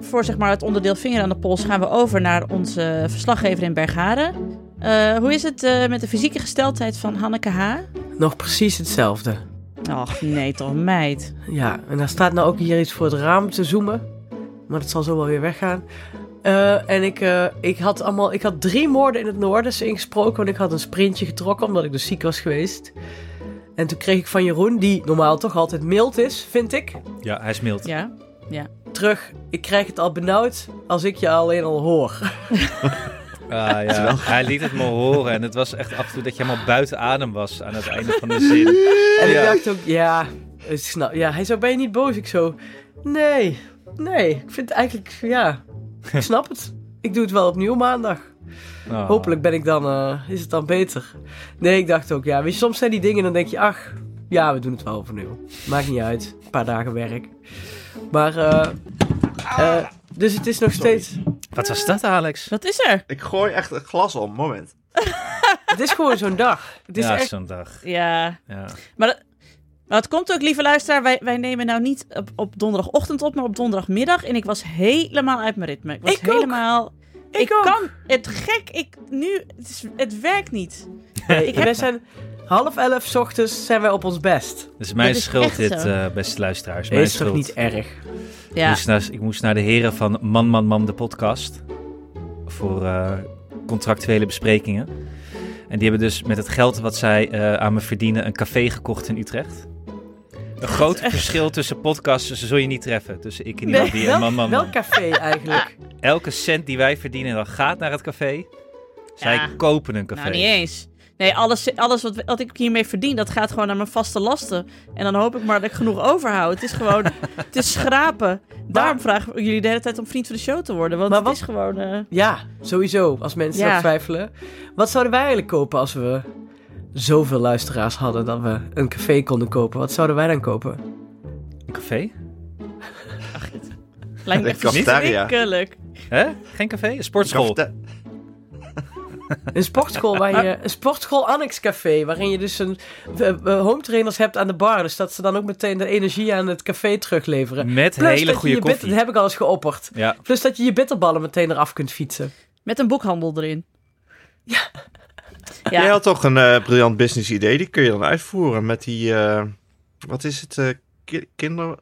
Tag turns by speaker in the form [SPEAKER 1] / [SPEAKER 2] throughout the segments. [SPEAKER 1] voor zeg maar, het onderdeel vinger aan de pols gaan we over naar onze verslaggever in Bergharen. Eh, hoe is het eh, met de fysieke gesteldheid van Hanneke H?
[SPEAKER 2] Nog precies hetzelfde.
[SPEAKER 1] Och nee toch meid.
[SPEAKER 2] Ja, en daar staat nou ook hier iets voor het raam te zoomen. Maar dat zal zo wel weer weggaan. Eh, en ik, eh, ik, had allemaal, ik had drie moorden in het Noorden dus ingesproken. Want ik had een sprintje getrokken omdat ik dus ziek was geweest. En toen kreeg ik van Jeroen, die normaal toch altijd mild is, vind ik.
[SPEAKER 3] Ja, hij is mild.
[SPEAKER 1] Ja.
[SPEAKER 2] Terug, ik krijg het al benauwd als ik je alleen al hoor.
[SPEAKER 3] Ah, ja. Hij liet het me horen en het was echt af en toe dat je helemaal buiten adem was aan het einde van de zin.
[SPEAKER 2] En
[SPEAKER 3] Ja.
[SPEAKER 2] ik dacht ook, ja, ik snap, ja, hij zou ben je niet boos. Ik zo, nee, nee. Ik vind eigenlijk, ja, ik snap het. Ik doe het wel opnieuw maandag.
[SPEAKER 3] Oh.
[SPEAKER 2] Hopelijk ben ik dan, eh, is het dan beter. Nee, ik dacht ook, ja, weet je, soms zijn die dingen, dan denk je, ach, ja, we doen het wel overnieuw. Maakt niet uit, een paar dagen werk. Maar, eh, eh, dus het is nog steeds,
[SPEAKER 3] Wat was dat, Alex?
[SPEAKER 1] Wat is er?
[SPEAKER 4] Ik gooi echt een glas om, moment.
[SPEAKER 2] het is gewoon zo'n dag. Het is
[SPEAKER 3] ja,
[SPEAKER 2] echt,
[SPEAKER 3] zo'n dag.
[SPEAKER 1] Ja.
[SPEAKER 3] Ja.
[SPEAKER 1] Maar, dat- maar het komt ook, lieve luisteraar. Wij, wij nemen nou niet op, op donderdagochtend op, maar op donderdagmiddag. En ik was helemaal uit mijn ritme. Ik was
[SPEAKER 2] Ik ook.
[SPEAKER 1] helemaal.
[SPEAKER 2] ik, ook.
[SPEAKER 1] kan het gek. Ik nu het, is, het werkt niet.
[SPEAKER 2] Nee, wij zijn half elf 's ochtends zijn wij op ons best.
[SPEAKER 3] Dat is mijn
[SPEAKER 1] Dat is echt
[SPEAKER 3] schuld, dit,
[SPEAKER 1] zo.
[SPEAKER 3] eh, beste luisteraars.
[SPEAKER 2] Nee,
[SPEAKER 3] mijn
[SPEAKER 2] is toch
[SPEAKER 3] schuld.
[SPEAKER 2] niet erg?
[SPEAKER 3] Ik,
[SPEAKER 1] Ja.
[SPEAKER 3] moest naar, ik moest naar de heren van Man Man Man de podcast voor eh, contractuele besprekingen. En die hebben dus met het geld wat zij eh, aan me verdienen een café gekocht in Utrecht. Een groot verschil tussen podcasts zul je niet treffen. Tussen ik en iemand die en
[SPEAKER 2] welk,
[SPEAKER 3] Man Man Man.
[SPEAKER 2] welk café eigenlijk?
[SPEAKER 3] Elke cent die wij verdienen dan gaat naar het café. Zij
[SPEAKER 1] Ja.
[SPEAKER 3] kopen een café.
[SPEAKER 1] Nou, niet eens. Nee, alles, alles wat, wat ik hiermee verdien, dat gaat gewoon naar mijn vaste lasten. En dan hoop ik maar dat ik genoeg overhoud. Het is gewoon, het is schrapen. Daarom vragen we jullie de hele tijd om vriend van de show te worden. Want
[SPEAKER 2] Maar
[SPEAKER 1] het
[SPEAKER 2] wat-
[SPEAKER 1] is gewoon... eh,
[SPEAKER 2] Ja, sowieso, als mensen
[SPEAKER 1] Ja.
[SPEAKER 2] dat twijfelen. Wat zouden wij eigenlijk kopen als we zoveel luisteraars hadden dat we een café konden kopen? Wat zouden wij dan kopen?
[SPEAKER 3] Een café?
[SPEAKER 1] lijkt me
[SPEAKER 4] De
[SPEAKER 1] echt
[SPEAKER 4] cafetaria.
[SPEAKER 1] verschrikkelijk.
[SPEAKER 3] Hè? Geen café? Een sportschool.
[SPEAKER 4] Kafte-
[SPEAKER 2] Een sportschool, waar je, een sportschool Annex Café, waarin je dus een, eh, eh, home trainers hebt aan de bar. Dus dat ze dan ook meteen de energie aan het café terugleveren.
[SPEAKER 3] Met
[SPEAKER 2] Plus
[SPEAKER 3] hele
[SPEAKER 2] dat je
[SPEAKER 3] goede
[SPEAKER 2] je bit-
[SPEAKER 3] koffie.
[SPEAKER 2] dat heb ik al eens geopperd.
[SPEAKER 3] Ja.
[SPEAKER 2] Plus dat je je bitterballen meteen eraf kunt fietsen.
[SPEAKER 1] Met een boekhandel erin. Ja.
[SPEAKER 4] Jij had toch een eh, briljant business idee, die kun je dan uitvoeren met die, eh, wat is het, eh, ki- kinder...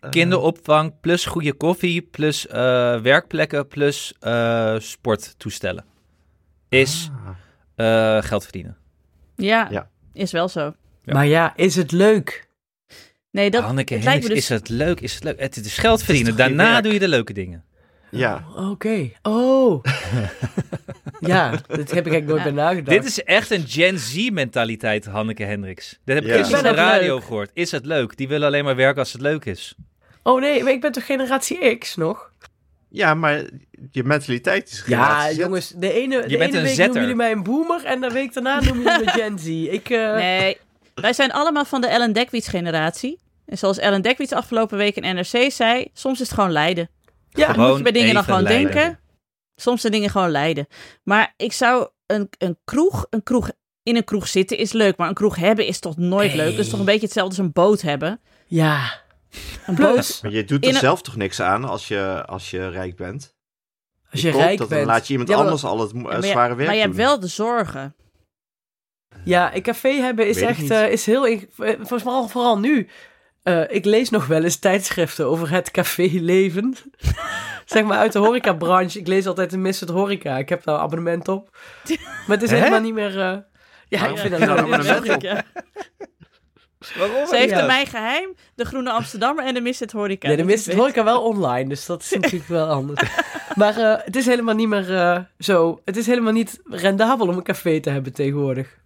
[SPEAKER 4] eh,
[SPEAKER 3] Kinderopvang, plus goede koffie, plus eh, werkplekken, plus eh, sporttoestellen. Is
[SPEAKER 4] Ah.
[SPEAKER 3] eh, geld verdienen.
[SPEAKER 1] Ja,
[SPEAKER 4] Ja.
[SPEAKER 1] is wel zo.
[SPEAKER 3] Ja.
[SPEAKER 2] Maar ja, is het leuk?
[SPEAKER 1] Nee, dat,
[SPEAKER 2] Ah.
[SPEAKER 3] Hanneke
[SPEAKER 1] het lijkt me
[SPEAKER 3] Hendricks,
[SPEAKER 1] dus-
[SPEAKER 3] is het leuk? Is het leuk? Het is geld verdienen.
[SPEAKER 4] toch geen
[SPEAKER 3] Daarna
[SPEAKER 4] werk?
[SPEAKER 3] doe je de leuke dingen.
[SPEAKER 4] Ja,
[SPEAKER 2] Oké. Oh. ja, dat heb ik eigenlijk nooit bij nagedacht.
[SPEAKER 3] Dit is echt een Gen Z mentaliteit, Hanneke Hendricks. Dat heb ik
[SPEAKER 4] Ja.
[SPEAKER 3] gisteren
[SPEAKER 2] Ik ben
[SPEAKER 3] op de
[SPEAKER 2] ook
[SPEAKER 3] radio
[SPEAKER 2] leuk.
[SPEAKER 3] gehoord. Is het leuk? Die willen alleen maar werken als het leuk is.
[SPEAKER 2] Oh nee, maar ik ben toch generatie X nog?
[SPEAKER 4] ja maar je mentaliteit is
[SPEAKER 2] Ja,
[SPEAKER 4] gratis.
[SPEAKER 2] jongens, de ene, de
[SPEAKER 3] bent
[SPEAKER 2] ene
[SPEAKER 3] een
[SPEAKER 2] week
[SPEAKER 3] zetter.
[SPEAKER 2] noemen jullie mij een boomer en de week daarna noemen jullie me Gen Z. Ik, eh,
[SPEAKER 1] Nee, wij zijn allemaal van de Ellen Dekwits generatie. En zoals Ellen Dekwits afgelopen week in NRC zei, soms is het gewoon lijden.
[SPEAKER 2] ja,
[SPEAKER 3] Gewoon
[SPEAKER 1] Moet je bij dingen dan
[SPEAKER 3] even
[SPEAKER 1] gewoon
[SPEAKER 3] leiden.
[SPEAKER 1] denken. Soms zijn dingen gewoon lijden. Maar ik zou een, een kroeg, een kroeg in een kroeg zitten is leuk, maar een kroeg hebben is toch nooit
[SPEAKER 2] Nee.
[SPEAKER 1] leuk. Dat is toch een beetje hetzelfde als een boot hebben.
[SPEAKER 2] ja. dus,
[SPEAKER 1] Een boot.
[SPEAKER 2] Plus,
[SPEAKER 4] Maar je doet
[SPEAKER 1] In
[SPEAKER 4] er
[SPEAKER 1] een-
[SPEAKER 4] zelf toch niks aan als je, als je rijk bent?
[SPEAKER 2] als je
[SPEAKER 4] Klopt,
[SPEAKER 2] rijk
[SPEAKER 4] dat,
[SPEAKER 2] bent.
[SPEAKER 4] Dan laat je iemand
[SPEAKER 2] Ja, maar-
[SPEAKER 4] anders al het mo- eh,
[SPEAKER 1] Ja, maar,
[SPEAKER 4] zware
[SPEAKER 1] je,
[SPEAKER 4] werk
[SPEAKER 1] maar je hebt
[SPEAKER 4] doen.
[SPEAKER 1] wel de zorgen.
[SPEAKER 2] Ja, een café hebben is
[SPEAKER 4] Weet ik
[SPEAKER 2] echt
[SPEAKER 4] niet.
[SPEAKER 2] eh, is heel... ing- eh, Volgens mij al- vooral nu. Eh, ik lees nog wel eens tijdschriften over het caféleven. zeg maar uit de horecabranche. Ik lees altijd de Miss het Horeca. Ik heb daar een abonnement op. Maar het is
[SPEAKER 3] Hè?
[SPEAKER 2] helemaal niet meer... eh, ja, ik
[SPEAKER 4] Waarom
[SPEAKER 2] vind
[SPEAKER 4] heb
[SPEAKER 2] dat
[SPEAKER 4] je daar
[SPEAKER 2] wel
[SPEAKER 4] een Ah, abonnement
[SPEAKER 2] heel
[SPEAKER 4] op?
[SPEAKER 2] gek.
[SPEAKER 1] Ja.
[SPEAKER 3] Waarom?
[SPEAKER 1] Ze heeft
[SPEAKER 2] Ja.
[SPEAKER 1] er mijn geheim, de Groene Amsterdammer en de Mist het Horeca.
[SPEAKER 2] Nee, de
[SPEAKER 1] Dat is
[SPEAKER 2] Miss het
[SPEAKER 1] beter.
[SPEAKER 2] Horeca wel online. Dus dat is natuurlijk wel anders. Maar eh, het is helemaal niet meer eh, zo... Het is helemaal niet rendabel om een café te hebben tegenwoordig.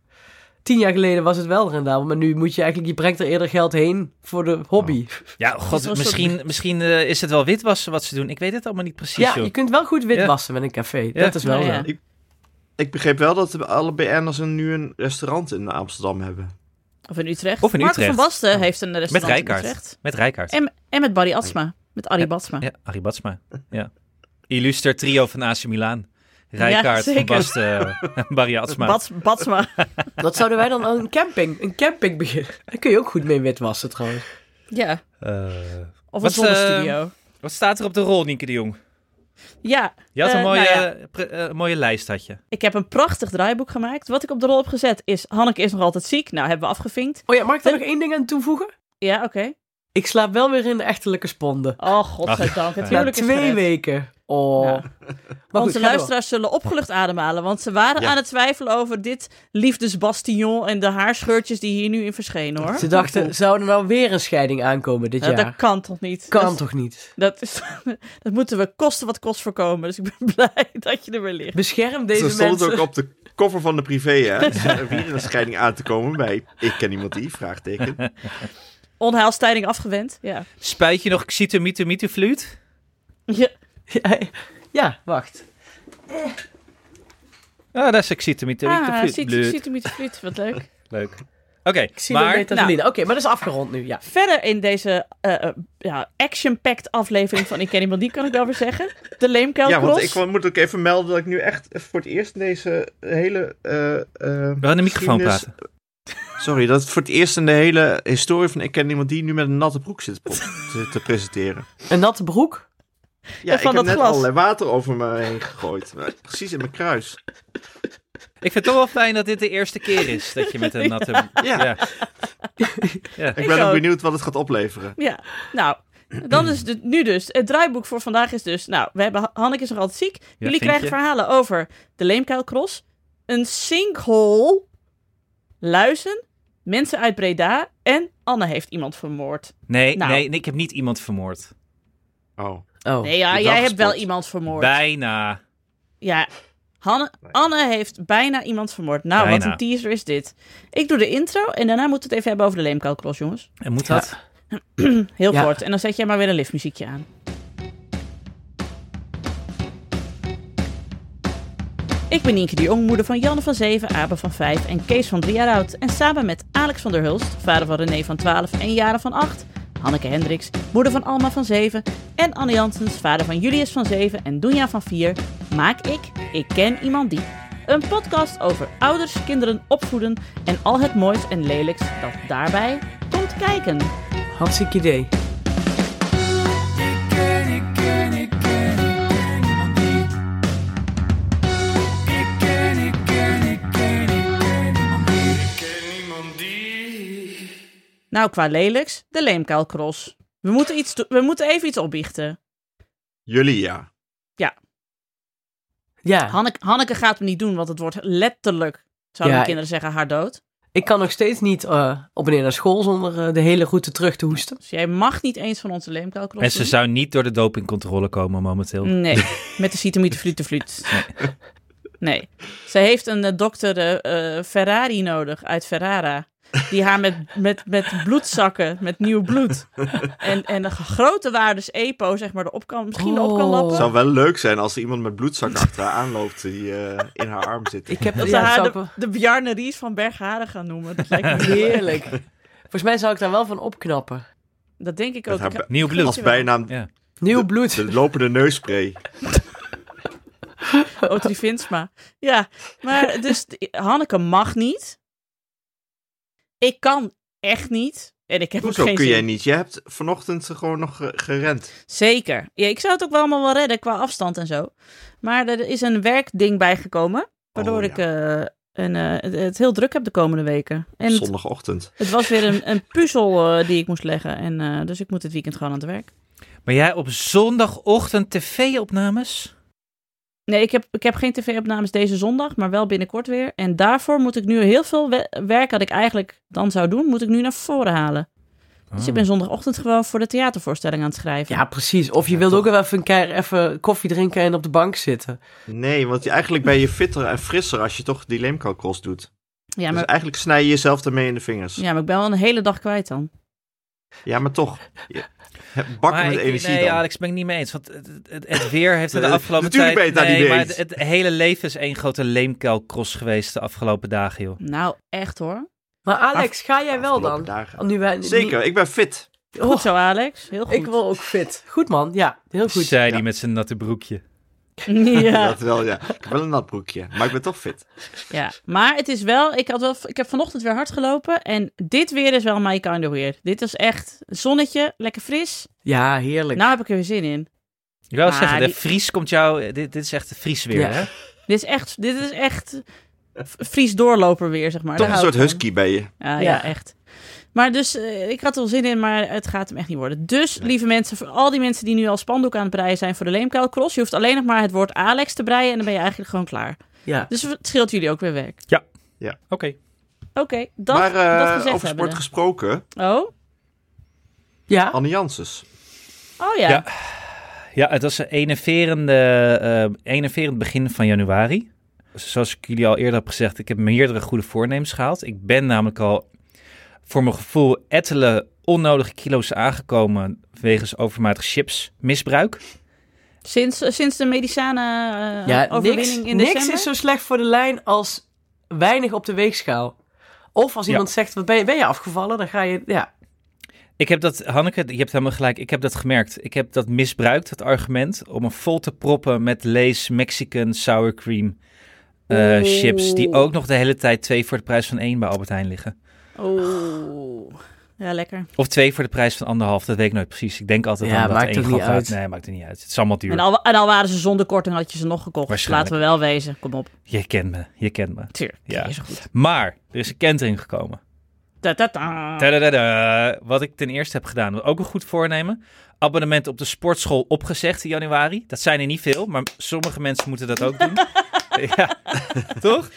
[SPEAKER 2] Tien jaar geleden was het wel rendabel. Maar nu moet je eigenlijk... Je brengt er eerder geld heen voor de
[SPEAKER 3] Oh,
[SPEAKER 2] hobby.
[SPEAKER 3] Ja, god,
[SPEAKER 1] soort-
[SPEAKER 3] misschien, misschien eh, is het wel witwassen wat ze doen. Ik weet het allemaal niet precies,
[SPEAKER 2] Ja,
[SPEAKER 3] joh.
[SPEAKER 2] je kunt wel goed wit
[SPEAKER 3] Ja.
[SPEAKER 2] wassen met een café.
[SPEAKER 3] Ja.
[SPEAKER 2] Dat is wel
[SPEAKER 1] Nou
[SPEAKER 2] zo.
[SPEAKER 1] ja.
[SPEAKER 4] Ik begreep wel dat alle BN'ers een- nu een restaurant in Amsterdam hebben.
[SPEAKER 1] Of in Utrecht.
[SPEAKER 3] Of in
[SPEAKER 1] Marco
[SPEAKER 3] Utrecht.
[SPEAKER 1] van Basten heeft een restaurant
[SPEAKER 3] Met
[SPEAKER 1] in Utrecht.
[SPEAKER 3] Rijkaard. Met Rijkaard.
[SPEAKER 1] En, en met Barry Atsma. Met Arie
[SPEAKER 3] Ja,
[SPEAKER 1] Batsma.
[SPEAKER 3] Ja, Arie Batsma. Ja. Illuster trio van AC Milaan. Rijkaard,
[SPEAKER 1] Ja,
[SPEAKER 3] Van
[SPEAKER 1] zeker.
[SPEAKER 3] Basten, en Barry Atsma.
[SPEAKER 1] Bats, Batsma.
[SPEAKER 2] Dat zouden wij dan aan een camping, een camping beginnen. Daar kun je ook goed mee witwassen trouwens.
[SPEAKER 1] ja.
[SPEAKER 3] Eh,
[SPEAKER 1] Of
[SPEAKER 3] Wat, ehm,
[SPEAKER 1] een zonnestudio.
[SPEAKER 3] wat staat er op de rol, Nienke de Jong?
[SPEAKER 1] Ja,
[SPEAKER 3] Je had een
[SPEAKER 1] Eh,
[SPEAKER 3] mooie,
[SPEAKER 1] nou ja.
[SPEAKER 3] eh, pre- eh, mooie lijst, had je.
[SPEAKER 1] ik heb een prachtig draaiboek gemaakt. Wat ik op de rol heb gezet is... Hanneke is nog altijd ziek. Nou, hebben we afgevinkt.
[SPEAKER 2] Oh ja, mag ik daar nog één ding aan toevoegen?
[SPEAKER 1] Ja, oké.
[SPEAKER 2] Ik slaap wel weer in de echterlijke sponden.
[SPEAKER 1] Oh, godzijdank. Het
[SPEAKER 2] Na
[SPEAKER 1] huwelijk is
[SPEAKER 2] twee
[SPEAKER 1] gered.
[SPEAKER 2] weken. Oh.
[SPEAKER 1] Ja.
[SPEAKER 2] Maar
[SPEAKER 1] Onze
[SPEAKER 2] goed, ga door.
[SPEAKER 1] luisteraars zullen opgelucht ademhalen, want ze waren
[SPEAKER 4] Ja.
[SPEAKER 1] aan het twijfelen over dit liefdesbastion en de haarscheurtjes die hier nu in verschenen hoor.
[SPEAKER 2] Ze dachten, zou er nou weer een scheiding aankomen dit
[SPEAKER 1] Nou,
[SPEAKER 2] jaar?
[SPEAKER 1] dat kan toch niet?
[SPEAKER 2] kan
[SPEAKER 1] dat,
[SPEAKER 2] toch niet?
[SPEAKER 1] Dat, is, dat moeten we kosten wat kost voorkomen, dus ik ben blij dat je er weer ligt.
[SPEAKER 2] Bescherm
[SPEAKER 4] Ze
[SPEAKER 2] deze
[SPEAKER 4] stond
[SPEAKER 2] mensen.
[SPEAKER 4] ook op de cover van de privé, hè? Ze zijn Weer een scheiding aan te komen bij Ik ken iemand die, vraagteken.
[SPEAKER 1] Onheilstijding afgewend, ja.
[SPEAKER 3] Spuit je nog xytomitomidofluut?
[SPEAKER 1] ja.
[SPEAKER 2] Ja, ja, wacht.
[SPEAKER 3] Ah, dat is
[SPEAKER 1] Ah, ziet,
[SPEAKER 3] xytomitomidofluut.
[SPEAKER 1] ziet hem niet vliet, wat leuk.
[SPEAKER 3] Leuk. Oké,
[SPEAKER 2] Ik zie
[SPEAKER 3] maar...
[SPEAKER 2] Oké, maar dat is afgerond nu, ja.
[SPEAKER 1] Verder in deze eh, eh, ja, action-packed aflevering van Ik ken iemand die, kan ik wel weer zeggen. De Leemkuil
[SPEAKER 4] Ja, want
[SPEAKER 1] Cross.
[SPEAKER 4] ik wa- moet ook even melden dat ik nu echt voor het eerst in deze hele... eh, eh,
[SPEAKER 3] We gaan in de microfoon
[SPEAKER 4] geschiedenis-
[SPEAKER 3] praten.
[SPEAKER 4] Sorry, dat het voor het eerst in de hele historie van Ik ken iemand die nu met een natte broek zit pop- te, te presenteren.
[SPEAKER 2] Een natte broek.
[SPEAKER 4] Ja, ik
[SPEAKER 1] van
[SPEAKER 4] heb
[SPEAKER 1] dat
[SPEAKER 4] net
[SPEAKER 1] glas.
[SPEAKER 4] allerlei water over me heen gegooid. Maar Precies in mijn kruis.
[SPEAKER 3] Ik vind het toch wel fijn dat dit de eerste keer is dat je met een natte...
[SPEAKER 4] Ja. Ik ben
[SPEAKER 1] Ik
[SPEAKER 4] ook
[SPEAKER 1] ook.
[SPEAKER 4] benieuwd wat het gaat opleveren.
[SPEAKER 1] Ja, nou, dan is het nu dus. Het draaiboek voor vandaag is dus. Nou, we hebben Hanneke is nog altijd ziek. Jullie
[SPEAKER 3] vind
[SPEAKER 1] krijgen
[SPEAKER 3] je?
[SPEAKER 1] verhalen over de leemkuilcross, een sinkhole, luizen, mensen uit Breda en Anne heeft iemand vermoord.
[SPEAKER 3] Nee,
[SPEAKER 1] Nou.
[SPEAKER 3] nee, nee, ik heb niet iemand vermoord.
[SPEAKER 4] Oh.
[SPEAKER 2] Oh.
[SPEAKER 1] Nee, ja,
[SPEAKER 4] je
[SPEAKER 1] jij
[SPEAKER 4] hebt
[SPEAKER 1] hebt wel
[SPEAKER 4] gespot.
[SPEAKER 1] iemand vermoord.
[SPEAKER 3] Bijna.
[SPEAKER 1] Ja. Hanne, Anne heeft bijna iemand vermoord. Nou, wat
[SPEAKER 3] Bijna.
[SPEAKER 1] een teaser is dit. Ik doe de intro en daarna moeten we het even hebben over de leemkuilcross, jongens.
[SPEAKER 3] En moet dat?
[SPEAKER 1] Heel
[SPEAKER 2] Ja.
[SPEAKER 1] kort. En dan zet jij maar weer een liftmuziekje aan. Ik ben Nienke de Jong, moeder van Janne van 7, Abe van 5 en Kees van 3 jaar oud. En samen met Alex van der Hulst, vader van René van 12 en Jaren van 8. Hanneke Hendricks, moeder van Alma van 7. En Anne Jansens, vader van Julius van 7 en Doenja van 4. Maak ik Ik Ken Iemand Die. Een podcast over ouders, kinderen, opvoeden en al het moois en lelijks dat daarbij komt kijken.
[SPEAKER 2] Hartstikke idee.
[SPEAKER 1] Nou, qua lelijks, de leemkuilcross. We moeten, iets do- we moeten even iets opbiechten.
[SPEAKER 4] Jullie ja.
[SPEAKER 2] Ja,
[SPEAKER 1] Hanneke, Hanneke gaat hem niet doen, want het wordt letterlijk, zouden
[SPEAKER 2] Ja,
[SPEAKER 1] de kinderen zeggen, haar dood.
[SPEAKER 2] ik kan nog steeds niet eh, op en neer naar school zonder eh, de hele route terug te hoesten.
[SPEAKER 1] Dus jij mag niet eens van onze leemkuilcross
[SPEAKER 3] En ze zou niet door de dopingcontrole komen momenteel.
[SPEAKER 1] doen. Nee, met de citamidefluteflut. Nee. nee. Ze heeft een eh, dokter eh, eh, Ferrari nodig uit Ferrara. Die haar met, met, met bloedzakken, met nieuw bloed. En, en de grote waardes EPO, zeg maar, erop kan, misschien op kan
[SPEAKER 2] Oh.
[SPEAKER 1] lappen.
[SPEAKER 4] Het zou wel leuk zijn als er iemand met bloedzak achteraan aanloopt die eh, in haar arm zit.
[SPEAKER 2] Ik heb
[SPEAKER 1] Dat ze
[SPEAKER 2] ja, dat
[SPEAKER 1] haar
[SPEAKER 2] zou
[SPEAKER 1] de,
[SPEAKER 2] ik
[SPEAKER 1] de Bjarne Ries van Bergharen gaan noemen. Dat lijkt me
[SPEAKER 2] wel- Heerlijk. Volgens mij zou ik daar wel van opknappen.
[SPEAKER 1] Dat denk ik
[SPEAKER 4] Met
[SPEAKER 1] ook.
[SPEAKER 4] haar
[SPEAKER 1] Ik heb-
[SPEAKER 4] be-
[SPEAKER 3] Nieuw bloed.
[SPEAKER 4] als bijnaam
[SPEAKER 3] Ja.
[SPEAKER 2] Nieuw bloed.
[SPEAKER 4] de lopende neusspray.
[SPEAKER 1] Otri Vinsma. Ja, maar dus die- Hanneke mag niet. Ik kan echt niet. En ik heb ook
[SPEAKER 4] Hoezo
[SPEAKER 1] geen
[SPEAKER 4] kun
[SPEAKER 1] zin.
[SPEAKER 4] jij niet? Je hebt vanochtend gewoon nog eh, gerend.
[SPEAKER 1] Zeker. Ja, ik zou het ook wel allemaal wel redden qua afstand en zo. Maar er is een werkding bijgekomen. Waardoor
[SPEAKER 4] Oh, ja.
[SPEAKER 1] ik eh, een, eh, het- het heel druk heb de komende weken. En eh, het,
[SPEAKER 4] Zondagochtend.
[SPEAKER 1] het was weer een, een puzzel eh, die ik moest leggen. En, eh, dus ik moet dit weekend gewoon aan het werk.
[SPEAKER 3] Maar jij op zondagochtend tv-opnames?
[SPEAKER 1] Nee, ik heb, ik heb geen tv-opnames deze zondag, maar wel binnenkort weer. En daarvoor moet ik nu heel veel we- werk dat ik eigenlijk dan zou doen, moet ik nu naar voren halen. Dus
[SPEAKER 3] Ah.
[SPEAKER 1] ik ben zondagochtend gewoon voor de theatervoorstelling aan het schrijven.
[SPEAKER 2] Ja, precies. Of je wilde ook wel even een keer even koffie drinken en op de bank zitten.
[SPEAKER 4] Nee, want je- eigenlijk ben je fitter en frisser als je toch die leemkalkros doet.
[SPEAKER 1] ja,
[SPEAKER 4] Dus
[SPEAKER 1] maar,
[SPEAKER 4] eigenlijk snij je jezelf daarmee in de vingers. Ja,
[SPEAKER 1] ja, maar ik ben wel een hele dag kwijt dan.
[SPEAKER 4] maar toch. Je- Bak
[SPEAKER 3] Maar
[SPEAKER 4] met
[SPEAKER 3] ik-
[SPEAKER 4] energie
[SPEAKER 3] nee,
[SPEAKER 4] dan.
[SPEAKER 3] Alex, ben ik niet mee eens. Want het, het, het weer heeft er de
[SPEAKER 4] Eh,
[SPEAKER 3] afgelopen tijd...
[SPEAKER 4] natuurlijk ben je het daar
[SPEAKER 3] nee,
[SPEAKER 4] niet mee
[SPEAKER 3] maar
[SPEAKER 4] eens.
[SPEAKER 3] het, het hele leven is één grote leemkuilcross geweest de afgelopen dagen, joh.
[SPEAKER 1] Nou, echt hoor.
[SPEAKER 2] Maar Alex, ga jij wel
[SPEAKER 4] Afgelopen
[SPEAKER 2] dan?
[SPEAKER 4] dagen.
[SPEAKER 2] Nu wij, nu-
[SPEAKER 4] Zeker, ik ben fit.
[SPEAKER 1] Goed zo, Alex. Heel goed.
[SPEAKER 2] Oh. Ik wil ook fit. Goed man, ja. Heel goed.
[SPEAKER 3] Zei die met zijn natte broekje.
[SPEAKER 1] Ja.
[SPEAKER 4] Dat wel, ja. Ik heb wel een nat broekje, maar ik ben toch fit.
[SPEAKER 1] ja. Maar het is wel ik, had wel, ik heb vanochtend weer hard gelopen. En dit weer is wel my kind of weer. Dit is echt zonnetje, lekker fris.
[SPEAKER 2] Ja, heerlijk.
[SPEAKER 1] Nou heb ik er weer zin in.
[SPEAKER 3] Ik wil wel
[SPEAKER 1] Ah,
[SPEAKER 3] zeggen, de
[SPEAKER 1] die-
[SPEAKER 3] Fries komt jou... Dit, dit is echt de Fries weer,
[SPEAKER 2] Ja.
[SPEAKER 3] hè?
[SPEAKER 1] Dit is echt, dit is echt v- Fries doorloper weer, zeg maar.
[SPEAKER 4] Toch
[SPEAKER 1] Daar
[SPEAKER 4] een
[SPEAKER 1] hou
[SPEAKER 4] soort
[SPEAKER 1] ik van.
[SPEAKER 4] husky bij je.
[SPEAKER 1] Ja, ja.
[SPEAKER 2] Ja.
[SPEAKER 1] echt. Maar dus, eh, ik had er wel zin in, maar het gaat hem echt niet worden. Dus, lieve mensen, voor al die mensen die nu al spandoek aan het breien zijn voor de Leemkuil Cross, je hoeft alleen nog maar het woord Alex te breien en dan ben je eigenlijk gewoon klaar.
[SPEAKER 2] Ja.
[SPEAKER 1] Dus het scheelt jullie ook weer werk.
[SPEAKER 3] Oké.
[SPEAKER 1] Oké, dat,
[SPEAKER 4] maar eh,
[SPEAKER 1] dat gezegd
[SPEAKER 4] over sport
[SPEAKER 1] hebben.
[SPEAKER 4] gesproken,
[SPEAKER 1] Oh? Ah.
[SPEAKER 2] Ja.
[SPEAKER 1] eh,
[SPEAKER 4] Anne Janssens.
[SPEAKER 3] Nou
[SPEAKER 1] Oh ja.
[SPEAKER 3] Ja. Ja, het was een enerverende, eh, enerverend begin van januari. Zoals ik jullie al eerder heb gezegd, ik heb meerdere goede voornemens gehaald. Ik ben namelijk al voor mijn gevoel ettele onnodige kilo's aangekomen wegens overmatig chipsmisbruik.
[SPEAKER 1] Sinds, eh, sinds de medicijnen eh,
[SPEAKER 2] ja niks,
[SPEAKER 1] overwinning in
[SPEAKER 2] niks
[SPEAKER 1] december?
[SPEAKER 2] is zo slecht voor de lijn als weinig op de weegschaal. Of als
[SPEAKER 3] Ja.
[SPEAKER 2] iemand zegt, wat ben, je, ben je afgevallen? Dan ga je, ja.
[SPEAKER 3] Ik heb dat, Hanneke, je hebt helemaal gelijk, ik heb dat gemerkt. Ik heb dat misbruikt, dat argument, om me vol te proppen met Lay's Mexican Sour Cream eh,
[SPEAKER 1] Oeh.
[SPEAKER 3] chips. Die ook nog de hele tijd twee voor de prijs van één bij Albert Heijn liggen.
[SPEAKER 1] Oeh. Ja, lekker.
[SPEAKER 3] Of twee voor de prijs van anderhalf, dat weet ik nooit precies. Ik denk altijd
[SPEAKER 2] Ja,
[SPEAKER 3] aan dat
[SPEAKER 2] maakt
[SPEAKER 3] één
[SPEAKER 2] ook
[SPEAKER 3] gat
[SPEAKER 2] niet
[SPEAKER 3] gaat.
[SPEAKER 2] uit.
[SPEAKER 3] Nee, maakt er niet uit. Het is allemaal duur.
[SPEAKER 1] En al, en al waren ze zonder korting, had je ze nog gekocht. Dus
[SPEAKER 3] Waarschijnlijk.
[SPEAKER 1] Laten we wel wezen. Kom op.
[SPEAKER 3] Je kent me, je kent me.
[SPEAKER 1] Tuurlijk.
[SPEAKER 3] Ja.
[SPEAKER 1] Ja. Is goed.
[SPEAKER 3] Maar, er is een kentering gekomen.
[SPEAKER 1] Ta -ta -ta.
[SPEAKER 3] Tadadada. Wat ik ten eerste heb gedaan, wat ook een goed voornemen. Abonnement op de sportschool opgezegd in januari. Dat zijn er niet veel, maar sommige mensen moeten dat ook doen. ja, toch?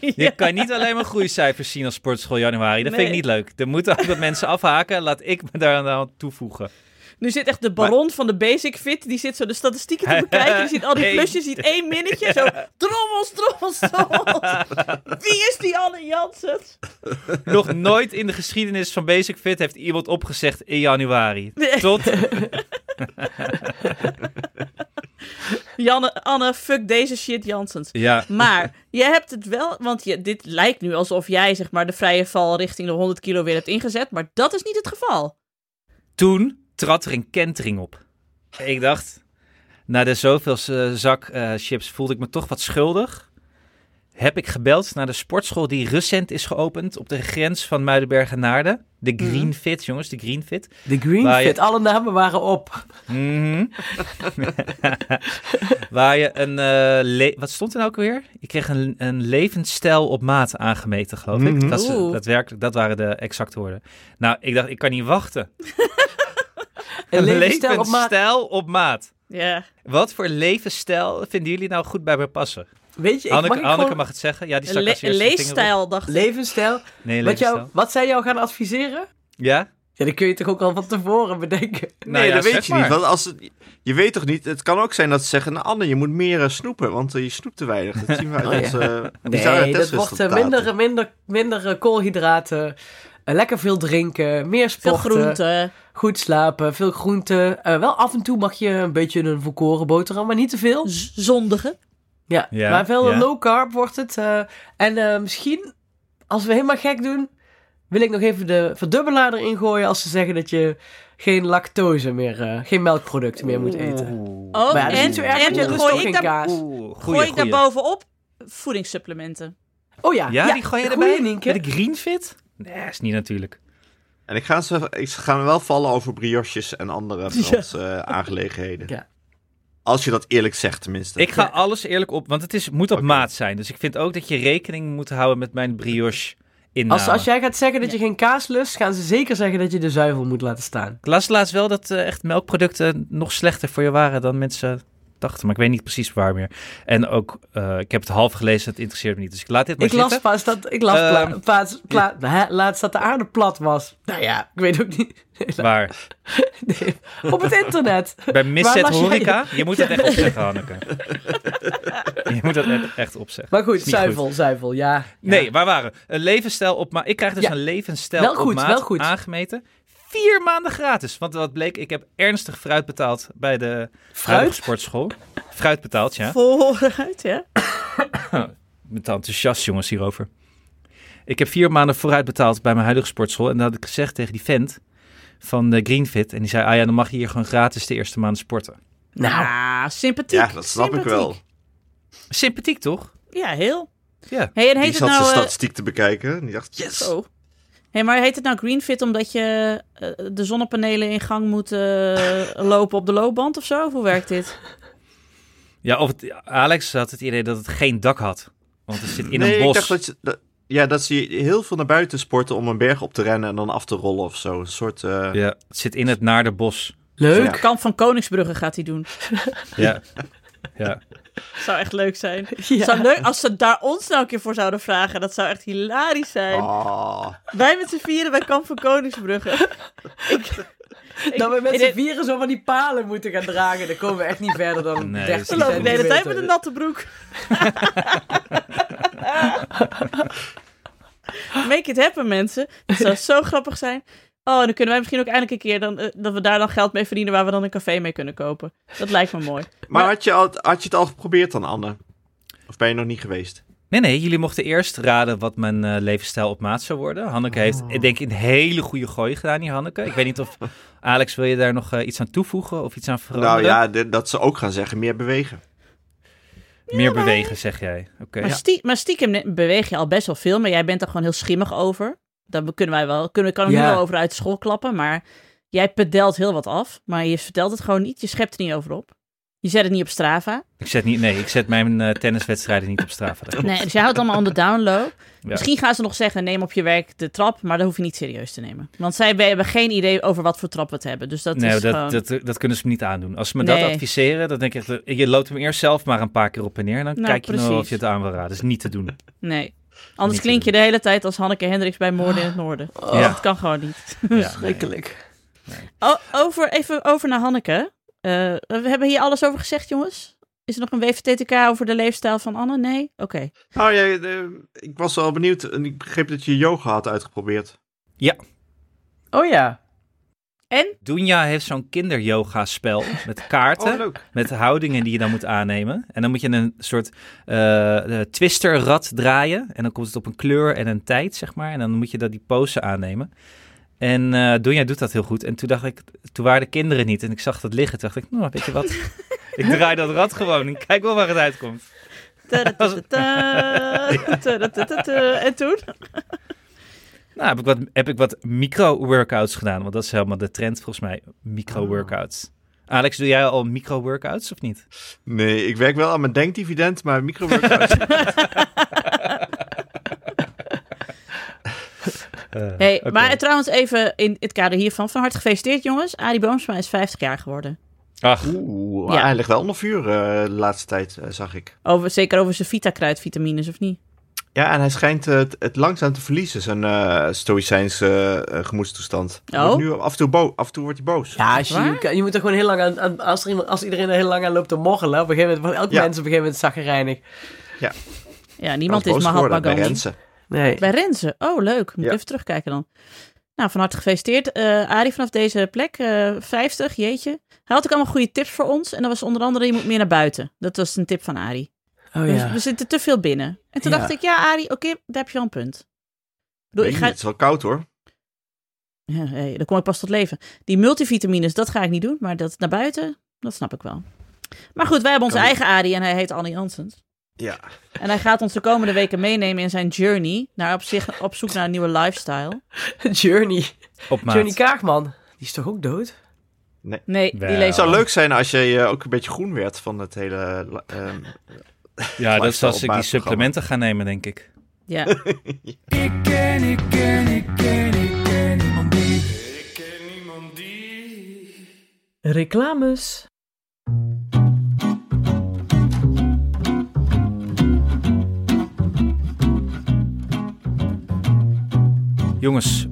[SPEAKER 3] Je kan niet alleen maar groeicijfers zien als sportschool januari. Dat vind ik
[SPEAKER 1] Nee.
[SPEAKER 3] niet leuk. Er moeten ook wat mensen afhaken. Laat ik me daar aan toevoegen.
[SPEAKER 1] Nu zit echt de baron van de Basic Fit, die zit zo de statistieken te bekijken. Die ziet al die
[SPEAKER 3] Hey.
[SPEAKER 1] plusjes, ziet één minnetje. Zo, trommels, trommels, trommels. Wie is die Anne Janssens?
[SPEAKER 3] Nog nooit in de geschiedenis van Basic Fit heeft iemand opgezegd in januari.
[SPEAKER 1] Nee.
[SPEAKER 3] Tot
[SPEAKER 1] Janne, Anne, fuck deze shit Janssens.
[SPEAKER 3] ja,
[SPEAKER 1] Maar je hebt het wel, want je, dit lijkt nu alsof jij zeg maar de vrije val richting de 100 kilo weer hebt ingezet. Maar dat is niet het geval.
[SPEAKER 3] toen trad er een kentering op. Ik dacht, na de zoveelste zak eh, chips voelde ik me toch wat schuldig. Heb ik gebeld naar de sportschool die recent is geopend op de grens van Muidenberg en Naarden. De Green Fit, jongens, de Green Fit.
[SPEAKER 2] De green
[SPEAKER 3] Waar je-
[SPEAKER 2] fit, alle namen waren op.
[SPEAKER 3] Mhm. Waar je een. eh, le- wat stond er nou ook weer? Je kreeg een, een levensstijl op maat aangemeten, geloof ik.
[SPEAKER 4] Mhm.
[SPEAKER 3] Dat, is,
[SPEAKER 1] Oeh.
[SPEAKER 3] daadwerkelijk, dat waren de exacte woorden. Nou, ik dacht, ik kan niet wachten.
[SPEAKER 2] Een levensstijl op maat.
[SPEAKER 3] levensstijl op maat.
[SPEAKER 1] Ja.
[SPEAKER 3] Wat voor levensstijl vinden jullie nou goed bij me passen?
[SPEAKER 2] Weet je, ik,
[SPEAKER 3] Anneke,
[SPEAKER 2] mag ik
[SPEAKER 3] Anneke
[SPEAKER 2] gewoon-
[SPEAKER 3] mag het zeggen. Ja, die
[SPEAKER 1] Een,
[SPEAKER 3] stak
[SPEAKER 1] le
[SPEAKER 3] als
[SPEAKER 1] een
[SPEAKER 3] eerste de vinger op.
[SPEAKER 1] leefstijl, dacht ik.
[SPEAKER 2] Levensstijl.
[SPEAKER 3] Nee,
[SPEAKER 2] Wat,
[SPEAKER 3] levensstijl.
[SPEAKER 2] jou, wat zij jou gaan adviseren?
[SPEAKER 3] Ja?
[SPEAKER 2] Ja, dan kun je toch ook al van tevoren bedenken.
[SPEAKER 3] Nou
[SPEAKER 4] Nee,
[SPEAKER 3] ja,
[SPEAKER 4] dat
[SPEAKER 3] zeg
[SPEAKER 4] weet je
[SPEAKER 3] maar.
[SPEAKER 4] niet. Want als het, je weet toch niet, het kan ook zijn dat ze zeggen, nou Anne, je moet meer eh, snoepen, want eh, je snoept te weinig. Dat zien we uit
[SPEAKER 2] Oh, ja.
[SPEAKER 4] onze eh, bizarre
[SPEAKER 2] Nee, dat wordt eh,
[SPEAKER 4] testresultaten.
[SPEAKER 2] minder, minder, minder eh, koolhydraten. eh, Lekker veel drinken, meer
[SPEAKER 1] Veel
[SPEAKER 2] sporten,
[SPEAKER 1] groenten.
[SPEAKER 2] goed slapen, veel groenten. Eh, wel af en toe mag je een beetje een volkoren boterham, maar niet te veel.
[SPEAKER 1] z- Zondige.
[SPEAKER 2] Ja,
[SPEAKER 3] Ja,
[SPEAKER 2] maar veel
[SPEAKER 3] ja.
[SPEAKER 2] low carb wordt het. eh, en eh, misschien, als we helemaal gek doen, wil ik nog even de verdubbelaar erin gooien als ze zeggen dat je geen lactose meer, eh, geen melkproducten meer moet eten.
[SPEAKER 1] Oh,
[SPEAKER 2] Maar ja, dat is
[SPEAKER 1] en,
[SPEAKER 2] niet zo erg,
[SPEAKER 1] en
[SPEAKER 2] want er is
[SPEAKER 1] gooi
[SPEAKER 2] toch
[SPEAKER 1] ik
[SPEAKER 2] geen
[SPEAKER 1] daar-
[SPEAKER 2] kaas.
[SPEAKER 3] Oeh, goeie,
[SPEAKER 1] gooi ik
[SPEAKER 3] goeie.
[SPEAKER 1] daarbovenop voedingssupplementen.
[SPEAKER 2] Oh ja,
[SPEAKER 3] Ja, die gooi je
[SPEAKER 2] goeie,
[SPEAKER 3] erbij?
[SPEAKER 2] Nienke.
[SPEAKER 3] Met de Green Fit? Nee, is niet natuurlijk.
[SPEAKER 4] En ik ga, ze, ik ga wel vallen over brioches en andere Franse eh, aangelegenheden.
[SPEAKER 2] Ja.
[SPEAKER 4] Als je dat eerlijk zegt tenminste.
[SPEAKER 3] Ik ga alles eerlijk op, want het is, moet op
[SPEAKER 4] Oké.
[SPEAKER 3] maat zijn. Dus ik vind ook dat je rekening moet houden met mijn brioche inname.
[SPEAKER 2] Als, als jij gaat zeggen dat je geen kaas lust, gaan ze zeker zeggen dat je de zuivel moet laten staan.
[SPEAKER 3] Ik las laatst wel dat eh, echt melkproducten nog slechter voor je waren dan mensen dachten. Maar ik weet niet precies waar meer. En ook, eh, ik heb het half gelezen, het interesseert me niet. Dus ik laat dit maar
[SPEAKER 2] Ik las
[SPEAKER 3] zitten.
[SPEAKER 2] pas dat, ik las pla-
[SPEAKER 3] Ehm,
[SPEAKER 2] plaats- pla- hè, laatst dat de aarde plat was. Nou ja, ik weet ook niet.
[SPEAKER 3] Waar?
[SPEAKER 2] Nee, Op het internet.
[SPEAKER 3] Bij Misset
[SPEAKER 2] las jij
[SPEAKER 3] Horeca? Je moet dat echt opzeggen, Hanneke. je moet dat echt, echt opzeggen.
[SPEAKER 2] Maar goed,
[SPEAKER 3] Is niet
[SPEAKER 2] zuivel, zuivel, ja. Ja.
[SPEAKER 3] Nee, waar waren we? Een levensstijl op maat. Ik krijg dus
[SPEAKER 2] Ja.
[SPEAKER 3] een levensstijl
[SPEAKER 2] Wel
[SPEAKER 3] op
[SPEAKER 2] goed,
[SPEAKER 3] maat
[SPEAKER 2] wel goed.
[SPEAKER 3] aangemeten. Vier maanden gratis. Want wat bleek, ik heb ernstig fruit betaald bij de huidige
[SPEAKER 2] Fruit?
[SPEAKER 3] sportschool. Fruit betaald, ja.
[SPEAKER 1] Vooruit, ja.
[SPEAKER 3] Ik ben te enthousiast, jongens, hierover. Ik heb vier maanden vooruit betaald bij mijn huidige sportschool. En dat had ik gezegd tegen die vent van de Greenfit. En die zei, ah ja, dan mag je hier gewoon gratis de eerste maand sporten.
[SPEAKER 2] Nou,
[SPEAKER 1] Ah, sympathiek.
[SPEAKER 4] ja, dat snap ik wel.
[SPEAKER 1] sympathiek.
[SPEAKER 3] Sympathiek, toch?
[SPEAKER 1] Ja, heel.
[SPEAKER 3] Ja.
[SPEAKER 1] Hey, en
[SPEAKER 4] Die
[SPEAKER 1] heet
[SPEAKER 4] zat
[SPEAKER 1] het
[SPEAKER 4] zijn
[SPEAKER 1] nou... eh,
[SPEAKER 4] statistiek te bekijken en die dacht, yes!
[SPEAKER 1] zo. Hey, maar heet het nou Greenfit omdat je eh, de zonnepanelen in gang moet eh, lopen op de loopband of zo? Of hoe werkt dit?
[SPEAKER 3] Ja, of het- Alex had het idee dat het geen dak had. Want het zit in
[SPEAKER 4] nee,
[SPEAKER 3] een
[SPEAKER 4] ik
[SPEAKER 3] bos.
[SPEAKER 4] dacht dat, ze- dat- ja, dat ze heel veel naar buiten sporten om een berg op te rennen en dan af te rollen of zo. Een soort... eh,
[SPEAKER 3] Ja, het zit in het naarde bos.
[SPEAKER 2] Leuk.
[SPEAKER 4] Ja.
[SPEAKER 1] Kamp van Koningsbrugge gaat hij doen.
[SPEAKER 3] Ja. ja.
[SPEAKER 1] Zou echt leuk zijn.
[SPEAKER 2] Ja.
[SPEAKER 1] Zou leuk, als ze daar ons nou een keer voor zouden vragen, dat zou echt hilarisch zijn.
[SPEAKER 4] ah.
[SPEAKER 1] Wij met z'n vieren bij Kamp van Koningsbrugge. ik, ik-
[SPEAKER 2] Dat we met
[SPEAKER 1] ik-
[SPEAKER 2] z'n vieren zo van die palen moeten gaan dragen. Dan komen we echt niet verder dan
[SPEAKER 3] Nee,
[SPEAKER 2] 30
[SPEAKER 1] We lopen de hele tijd met een natte
[SPEAKER 2] centimeter.
[SPEAKER 1] broek. Make it happen, mensen. Dat zou zo grappig zijn. Oh, en dan kunnen wij misschien ook eindelijk een keer dan, eh, dat we daar dan geld mee verdienen waar we dan een café mee kunnen kopen. Dat lijkt me mooi.
[SPEAKER 4] Maar had je, al, had je het al geprobeerd dan, Anne? Of ben je nog niet geweest?
[SPEAKER 3] Nee, nee, jullie mochten eerst raden wat mijn eh, levensstijl op maat zou worden. Hanneke heeft, ik denk ik, een hele goede gooi gedaan hier, Hanneke. Ik weet niet of, Alex, wil je daar nog eh, iets aan toevoegen of iets aan veranderen?
[SPEAKER 4] Nou ja, dit- dat ze ook gaan zeggen, meer bewegen.
[SPEAKER 3] Meer bewegen, zeg jij. Oké.
[SPEAKER 1] Maar, stie- maar stiekem ne- beweeg je al best wel veel, maar jij bent er gewoon heel schimmig over. Daar be- kunnen wij wel, kunnen, kan ik nu
[SPEAKER 2] Ja.
[SPEAKER 1] wel over uit de school klappen, maar jij pedelt heel wat af. Maar je vertelt het gewoon niet, je schept er niet over op. Je zet het niet op Strava.
[SPEAKER 3] Ik zet niet, nee, ik zet mijn eh, tenniswedstrijden niet op Strava. Dat-
[SPEAKER 1] Nee, dus jij houdt het allemaal on the down low.
[SPEAKER 3] Ja.
[SPEAKER 1] Misschien gaan ze nog zeggen, neem op je werk de trap, maar dat hoef je niet serieus te nemen. Want zij we- hebben geen idee over wat voor trap we het hebben. Dus dat
[SPEAKER 3] nee,
[SPEAKER 1] is
[SPEAKER 3] dat,
[SPEAKER 1] gewoon...
[SPEAKER 3] dat, dat kunnen ze me niet aandoen. Als ze me dat
[SPEAKER 1] Nee.
[SPEAKER 3] adviseren, dan denk ik, echt, eh, je loopt hem eerst zelf maar een paar keer op en neer. En dan
[SPEAKER 1] Nou,
[SPEAKER 3] kijk je nou of
[SPEAKER 1] precies.
[SPEAKER 3] je het aan wil raden. Dat is niet te doen.
[SPEAKER 1] Nee. Anders
[SPEAKER 3] Niet
[SPEAKER 1] klink
[SPEAKER 3] te
[SPEAKER 1] je de hele tijd als Hanneke Hendricks bij Moorden in het Noorden.
[SPEAKER 3] Ja.
[SPEAKER 1] Dat kan gewoon niet.
[SPEAKER 3] Ja,
[SPEAKER 2] Oh, Schrikkelijk.
[SPEAKER 1] O- over, even over naar Hanneke. Eh, we hebben hier alles over gezegd, jongens. Is er nog een WVTTK over de leefstijl van Anne? Nee? Oké.
[SPEAKER 4] Nou ja, eh, ik was wel benieuwd en ik begreep dat je yoga had uitgeprobeerd.
[SPEAKER 2] Oh ja.
[SPEAKER 1] En?
[SPEAKER 3] Dunja heeft zo'n kinderyoga-spel met kaarten,
[SPEAKER 4] Oh, leuk.
[SPEAKER 3] met houdingen die je dan moet aannemen. En dan moet je een soort eh, eh, twisterrad draaien. En dan komt het op een kleur en een tijd, zeg maar. En dan moet je dat die pose aannemen. En eh Dunja doet dat heel goed. En toen dacht ik, toen waren de kinderen niet. En ik zag dat liggen. Toen dacht ik, nou, weet je wat? ik draai dat rad gewoon. en kijk wel waar het uitkomt.
[SPEAKER 1] Tadadadada, tadadadada. En toen?
[SPEAKER 3] Nou, heb ik wat, heb ik wat micro-workouts gedaan. Want dat is helemaal de trend volgens mij. Micro-workouts. Alex, doe jij al micro-workouts of niet?
[SPEAKER 4] Nee, ik werk wel aan mijn denkdividend, maar micro-workouts...
[SPEAKER 1] Hey, Eh, Maar trouwens even in het kader hiervan. Van harte gefeliciteerd, jongens. Arie Boomsma is 50 jaar geworden.
[SPEAKER 3] Ach,
[SPEAKER 4] Oeh,
[SPEAKER 1] Ja.
[SPEAKER 4] hij ligt wel onder vuur eh, de laatste tijd, eh, zag ik.
[SPEAKER 1] Over, zeker over zijn Vita-kruidvitamines, of niet?
[SPEAKER 4] Ja, en hij schijnt eh, het, het langzaam te verliezen, zijn eh stoïcijnse eh, eh, gemoedstoestand. Hij
[SPEAKER 1] Oh.
[SPEAKER 4] wordt Nu, af, en toe bo- af en toe wordt hij boos.
[SPEAKER 2] Ja, als je,
[SPEAKER 1] Waar?
[SPEAKER 2] je, kan- je moet er gewoon heel lang aan, aan- als, er iemand, als iedereen er heel lang aan loopt te morrelen, op een gegeven moment wordt elk
[SPEAKER 4] Ja.
[SPEAKER 2] mens op een gegeven moment zagrijnig.
[SPEAKER 1] Ja, niemand
[SPEAKER 4] Hij
[SPEAKER 1] is
[SPEAKER 4] was boos
[SPEAKER 1] Mahatma
[SPEAKER 4] geworden bij
[SPEAKER 1] Gandhi.
[SPEAKER 4] Rensen.
[SPEAKER 2] Nee.
[SPEAKER 1] Bij Renze. Oh, leuk. Moet ik
[SPEAKER 4] Ja.
[SPEAKER 1] even terugkijken dan. Nou, van harte gefeliciteerd. Eh Arie vanaf deze plek, eh 50, jeetje. Hij had ook allemaal goede tips voor ons. En dat was onder andere, je moet meer naar buiten. Dat was een tip van Arie.
[SPEAKER 2] Oh
[SPEAKER 1] We-
[SPEAKER 2] ja.
[SPEAKER 1] We zitten te veel binnen. En toen
[SPEAKER 2] Ja.
[SPEAKER 1] dacht ik, ja Arie, oké, daar heb je al een punt. Ik bedoel,
[SPEAKER 4] Weet
[SPEAKER 1] ik
[SPEAKER 4] niet,
[SPEAKER 1] ga...
[SPEAKER 4] Het is wel koud hoor.
[SPEAKER 1] ja, hey, dan kom ik pas tot leven. Die multivitamines, dat ga ik niet doen. Maar dat naar buiten, dat snap ik wel. Maar goed, wij hebben onze
[SPEAKER 4] Kan
[SPEAKER 1] eigen Arie en hij heet Annie Janssens.
[SPEAKER 4] Ja.
[SPEAKER 1] En hij gaat ons de komende weken meenemen in zijn journey. Naar op, zich, op zoek naar een nieuwe lifestyle.
[SPEAKER 2] Journey.
[SPEAKER 3] op maat.
[SPEAKER 2] Journey Kaagman. Die is toch ook dood?
[SPEAKER 1] Nee,
[SPEAKER 3] Wel.
[SPEAKER 1] die
[SPEAKER 4] Het
[SPEAKER 1] leest
[SPEAKER 4] zou leuk zijn als je eh, ook een beetje groen werd van het hele... eh, ehm,
[SPEAKER 3] Ja, dat is
[SPEAKER 4] Lifestyle
[SPEAKER 3] als ik die
[SPEAKER 4] op
[SPEAKER 3] supplementen ga nemen, denk ik.
[SPEAKER 1] Ja.
[SPEAKER 2] Reclames.
[SPEAKER 3] Jongens,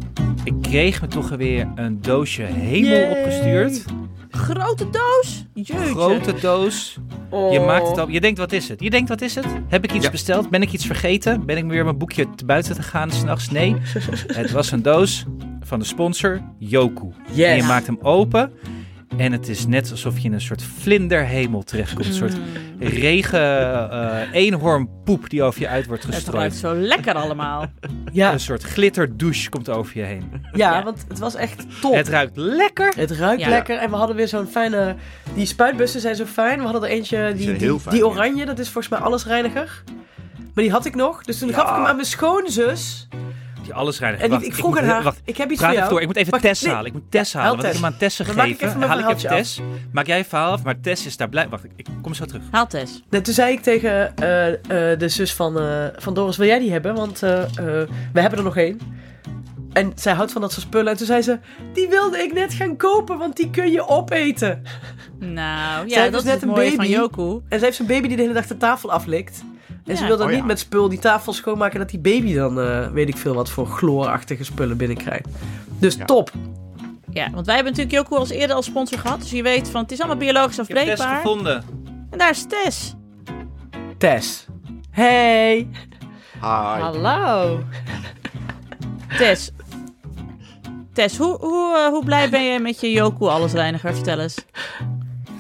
[SPEAKER 3] ik kreeg me toch weer een doosje hemel
[SPEAKER 2] Yay.
[SPEAKER 3] opgestuurd.
[SPEAKER 1] Grote doos? Jeetje.
[SPEAKER 3] Grote doos. Je
[SPEAKER 2] Oh.
[SPEAKER 3] maakt het al. Je denkt, wat is het? Je denkt, wat is het? Heb ik iets
[SPEAKER 4] Ja.
[SPEAKER 3] besteld? Ben ik iets vergeten? Ben ik weer mijn boekje te buiten te gaan s'nachts? Nee. het was een doos van de sponsor Yoku.
[SPEAKER 2] Yes.
[SPEAKER 3] En je maakt hem open. En het is net alsof je in een soort vlinderhemel terechtkomt. Een
[SPEAKER 1] Hmm.
[SPEAKER 3] soort regen eh eenhoornpoep die over je uit wordt
[SPEAKER 1] Het ruikt
[SPEAKER 3] gestrooid.
[SPEAKER 1] zo lekker allemaal.
[SPEAKER 2] Ja,
[SPEAKER 3] Een soort glitterdouche komt over je heen.
[SPEAKER 2] ja,
[SPEAKER 1] Ja.
[SPEAKER 2] want het was echt top.
[SPEAKER 3] Het ruikt lekker.
[SPEAKER 2] Het ruikt
[SPEAKER 1] Ja.
[SPEAKER 2] lekker en we hadden weer zo'n fijne... Die spuitbussen zijn zo fijn. We hadden er eentje, die,
[SPEAKER 4] zijn
[SPEAKER 2] die,
[SPEAKER 4] heel fijn,
[SPEAKER 2] die
[SPEAKER 4] ja.
[SPEAKER 2] oranje, dat is volgens mij allesreiniger. Maar die had ik nog. Dus toen gaf ik hem aan mijn schoonzus. Die
[SPEAKER 3] je alles reinigen.
[SPEAKER 2] En ik,
[SPEAKER 3] Wacht,
[SPEAKER 2] ik vroeg
[SPEAKER 3] moet-
[SPEAKER 2] aan haar,
[SPEAKER 3] Wacht,
[SPEAKER 2] ik heb iets voor
[SPEAKER 3] praat even
[SPEAKER 2] jou.
[SPEAKER 3] door. Ik moet even
[SPEAKER 2] Wacht,
[SPEAKER 3] Tess
[SPEAKER 2] nee.
[SPEAKER 3] halen. Ik moet Tess
[SPEAKER 2] Ja,
[SPEAKER 3] halen.
[SPEAKER 2] haal
[SPEAKER 3] Want ik heb hem aan Tess
[SPEAKER 2] Dan maak
[SPEAKER 3] gegeven.
[SPEAKER 2] ik even mijn
[SPEAKER 3] haal ik even Tess.
[SPEAKER 2] verhaaltje
[SPEAKER 3] Maak jij je verhaal af, maar Tess is daar blij... Wacht, ik kom zo terug.
[SPEAKER 1] Haal Tess.
[SPEAKER 2] Nou, toen zei ik tegen eh, eh, de zus van, eh, van Doris, wil jij die hebben? Want eh, eh, we hebben er nog één. En zij houdt van dat soort spullen. En toen zei ze, die wilde ik net gaan kopen, want die kun je opeten.
[SPEAKER 1] Nou,
[SPEAKER 2] Zij
[SPEAKER 1] ja,
[SPEAKER 2] was
[SPEAKER 1] dat is
[SPEAKER 2] net
[SPEAKER 1] net een
[SPEAKER 2] een
[SPEAKER 1] mooie
[SPEAKER 2] baby.
[SPEAKER 1] van Joku.
[SPEAKER 2] En ze heeft zo'n baby die de hele dag de tafel aflikt. En ze
[SPEAKER 1] Ja.
[SPEAKER 2] wil dan
[SPEAKER 4] Oh, ja.
[SPEAKER 2] niet met spul die tafel schoonmaken... dat die baby dan, eh, weet ik veel wat, voor chloorachtige spullen binnenkrijgt. Dus
[SPEAKER 4] Ja.
[SPEAKER 2] top.
[SPEAKER 1] Ja, want wij hebben natuurlijk Joku als eerder als sponsor gehad. Dus je weet van, het is allemaal biologisch
[SPEAKER 3] Ik heb Tess
[SPEAKER 1] afbreekbaar.
[SPEAKER 3] gevonden.
[SPEAKER 1] En daar is Tess.
[SPEAKER 2] Tess. Hey.
[SPEAKER 4] Hi.
[SPEAKER 1] Hallo. Tess. Tess, hoe, hoe, eh, hoe blij ben je met je Joku allesreiniger? Vertel eens.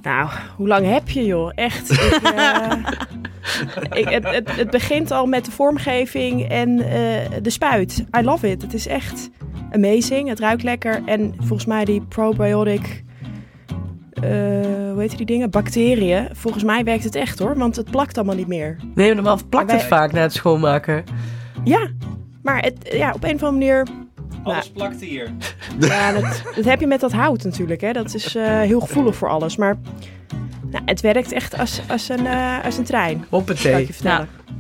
[SPEAKER 5] Nou, hoe lang heb je joh? Echt. Ik, eh, ik, het, het, het begint al met de vormgeving en eh, de spuit. I love it. Het is echt amazing. Het ruikt lekker. En volgens mij die probiotic... eh, hoe heet die dingen? Bacteriën. Volgens mij werkt het echt hoor, want het plakt allemaal niet meer.
[SPEAKER 2] Nee, maar normaal plakt het
[SPEAKER 5] Wij-
[SPEAKER 2] vaak na het schoonmaken.
[SPEAKER 5] Ja, maar het, ja, op een of andere manier...
[SPEAKER 2] Nou.
[SPEAKER 3] Alles plakte hier.
[SPEAKER 5] Ja, dat, dat heb je met dat hout natuurlijk. Hè. Dat is eh, heel gevoelig voor alles. Maar nou, het werkt echt als, als, een, eh, als een trein. Kan ik
[SPEAKER 2] Hoppatee.
[SPEAKER 5] je vertellen.
[SPEAKER 1] Nou,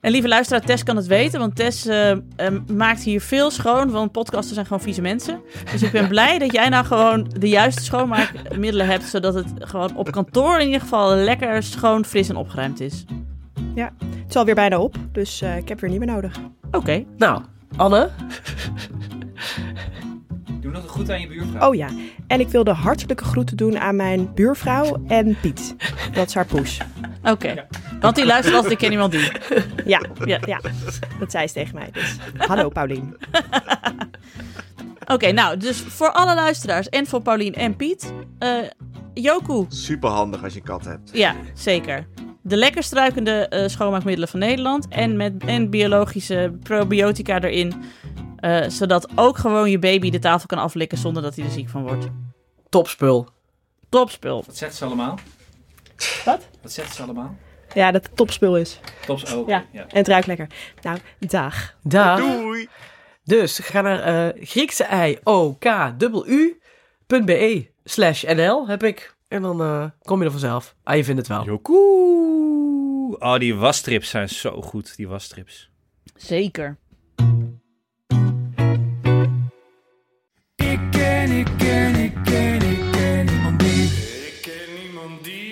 [SPEAKER 1] En lieve luisteraar, Tess kan het weten, want Tess eh, eh, maakt hier veel schoon, want podcasters zijn gewoon vieze mensen. Dus ik ben blij dat jij nou gewoon de juiste schoonmaakmiddelen hebt, zodat het gewoon op kantoor in ieder geval lekker schoon, fris en opgeruimd is.
[SPEAKER 5] Het is alweer bijna op, dus eh, ik heb weer niet meer nodig.
[SPEAKER 1] Oké,
[SPEAKER 2] Nou, Anne.
[SPEAKER 3] Doe nog goed aan je buurvrouw.
[SPEAKER 5] Oh ja, en ik wilde hartelijke groeten doen aan mijn buurvrouw en Piet. Dat is haar poes.
[SPEAKER 1] oké. Want die luistert altijd, ik ken iemand die.
[SPEAKER 5] Ja,
[SPEAKER 1] Ja.
[SPEAKER 5] ja. ja. dat zei ze tegen mij. Dus. Hallo Paulien.
[SPEAKER 1] Oké, nou, dus voor alle luisteraars en voor Paulien en Piet, eh Joku,
[SPEAKER 4] Super handig als je een kat hebt.
[SPEAKER 1] ja, zeker. De lekker struikende eh, schoonmaakmiddelen van Nederland en, met, en biologische probiotica erin. eh, zodat ook gewoon je baby de tafel kan aflikken zonder dat hij er ziek van wordt.
[SPEAKER 2] Topspul.
[SPEAKER 1] Topspul.
[SPEAKER 3] Wat zegt ze allemaal?
[SPEAKER 5] Wat?
[SPEAKER 3] Wat zegt ze allemaal?
[SPEAKER 5] Ja, dat het topspul is.
[SPEAKER 3] Tops ook.
[SPEAKER 5] Ja. En het ruikt lekker. Nou, dag.
[SPEAKER 2] Daar.
[SPEAKER 4] Doei.
[SPEAKER 2] Dus ga naar eh Griekse ei o k u be slash nl heb ik. En dan eh, kom je er vanzelf. Ah, je vindt het wel.
[SPEAKER 3] Jokoe. Oh, die wasstrips zijn zo goed, die wasstrips.
[SPEAKER 1] Zeker.
[SPEAKER 6] Ik ken, ik ken, ik ken, ik ken niemand die. Ik ken niemand die.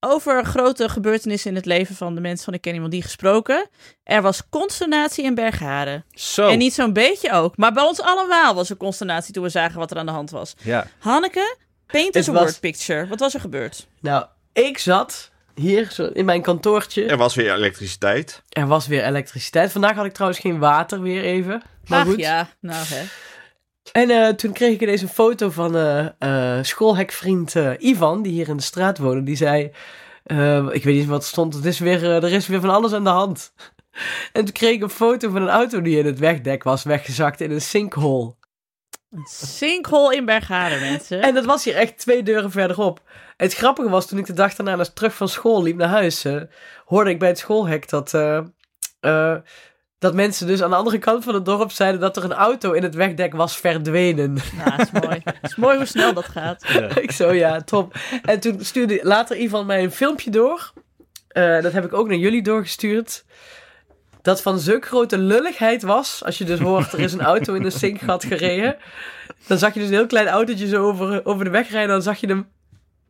[SPEAKER 1] Over grote gebeurtenissen in het leven van de mensen van Ik Ken Iemand Die gesproken. Er was consternatie in Bergharen.
[SPEAKER 2] Oh.
[SPEAKER 3] Zo.
[SPEAKER 1] En niet zo'n beetje ook. Maar bij ons allemaal was er consternatie toen we zagen wat er aan de hand was.
[SPEAKER 3] Ja.
[SPEAKER 1] Hanneke, paint us
[SPEAKER 2] Het
[SPEAKER 1] a
[SPEAKER 2] was-
[SPEAKER 1] word picture. Wat was er gebeurd?
[SPEAKER 2] Nou, ik zat hier zo in mijn kantoortje.
[SPEAKER 4] Er was weer elektriciteit.
[SPEAKER 2] Er was weer elektriciteit. Vandaag had ik trouwens geen water weer even. Maar
[SPEAKER 1] Ach
[SPEAKER 2] goed.
[SPEAKER 1] ja, nou hè.
[SPEAKER 2] En eh, toen kreeg ik ineens een foto van eh, eh, schoolhekvriend eh, Ivan, die hier in de straat woonde. Die zei, eh, ik weet niet wat er stond, het is weer, eh, er is weer van alles aan de hand. En toen kreeg ik een foto van een auto die in het wegdek was weggezakt in een sinkhole.
[SPEAKER 1] Een sinkhole in Bergharen, mensen.
[SPEAKER 2] En dat was hier echt twee deuren verderop. Het grappige was, toen ik de dag daarna dus terug van school liep naar huis, eh, hoorde ik bij het schoolhek dat, eh, eh, dat mensen dus aan de andere kant van het dorp zeiden dat er een auto in het wegdek was verdwenen.
[SPEAKER 1] Nou, dat is mooi. Het is mooi hoe snel dat gaat.
[SPEAKER 2] ik zo, ja, top. En toen stuurde later Ivan mij een filmpje door. Eh, dat heb ik ook naar jullie doorgestuurd. Dat van zulke grote lulligheid was. Als je dus hoort, er is een auto in een zinkgat gereden. Dan zag je dus een heel klein autootje zo over, over de weg rijden. Dan zag je hem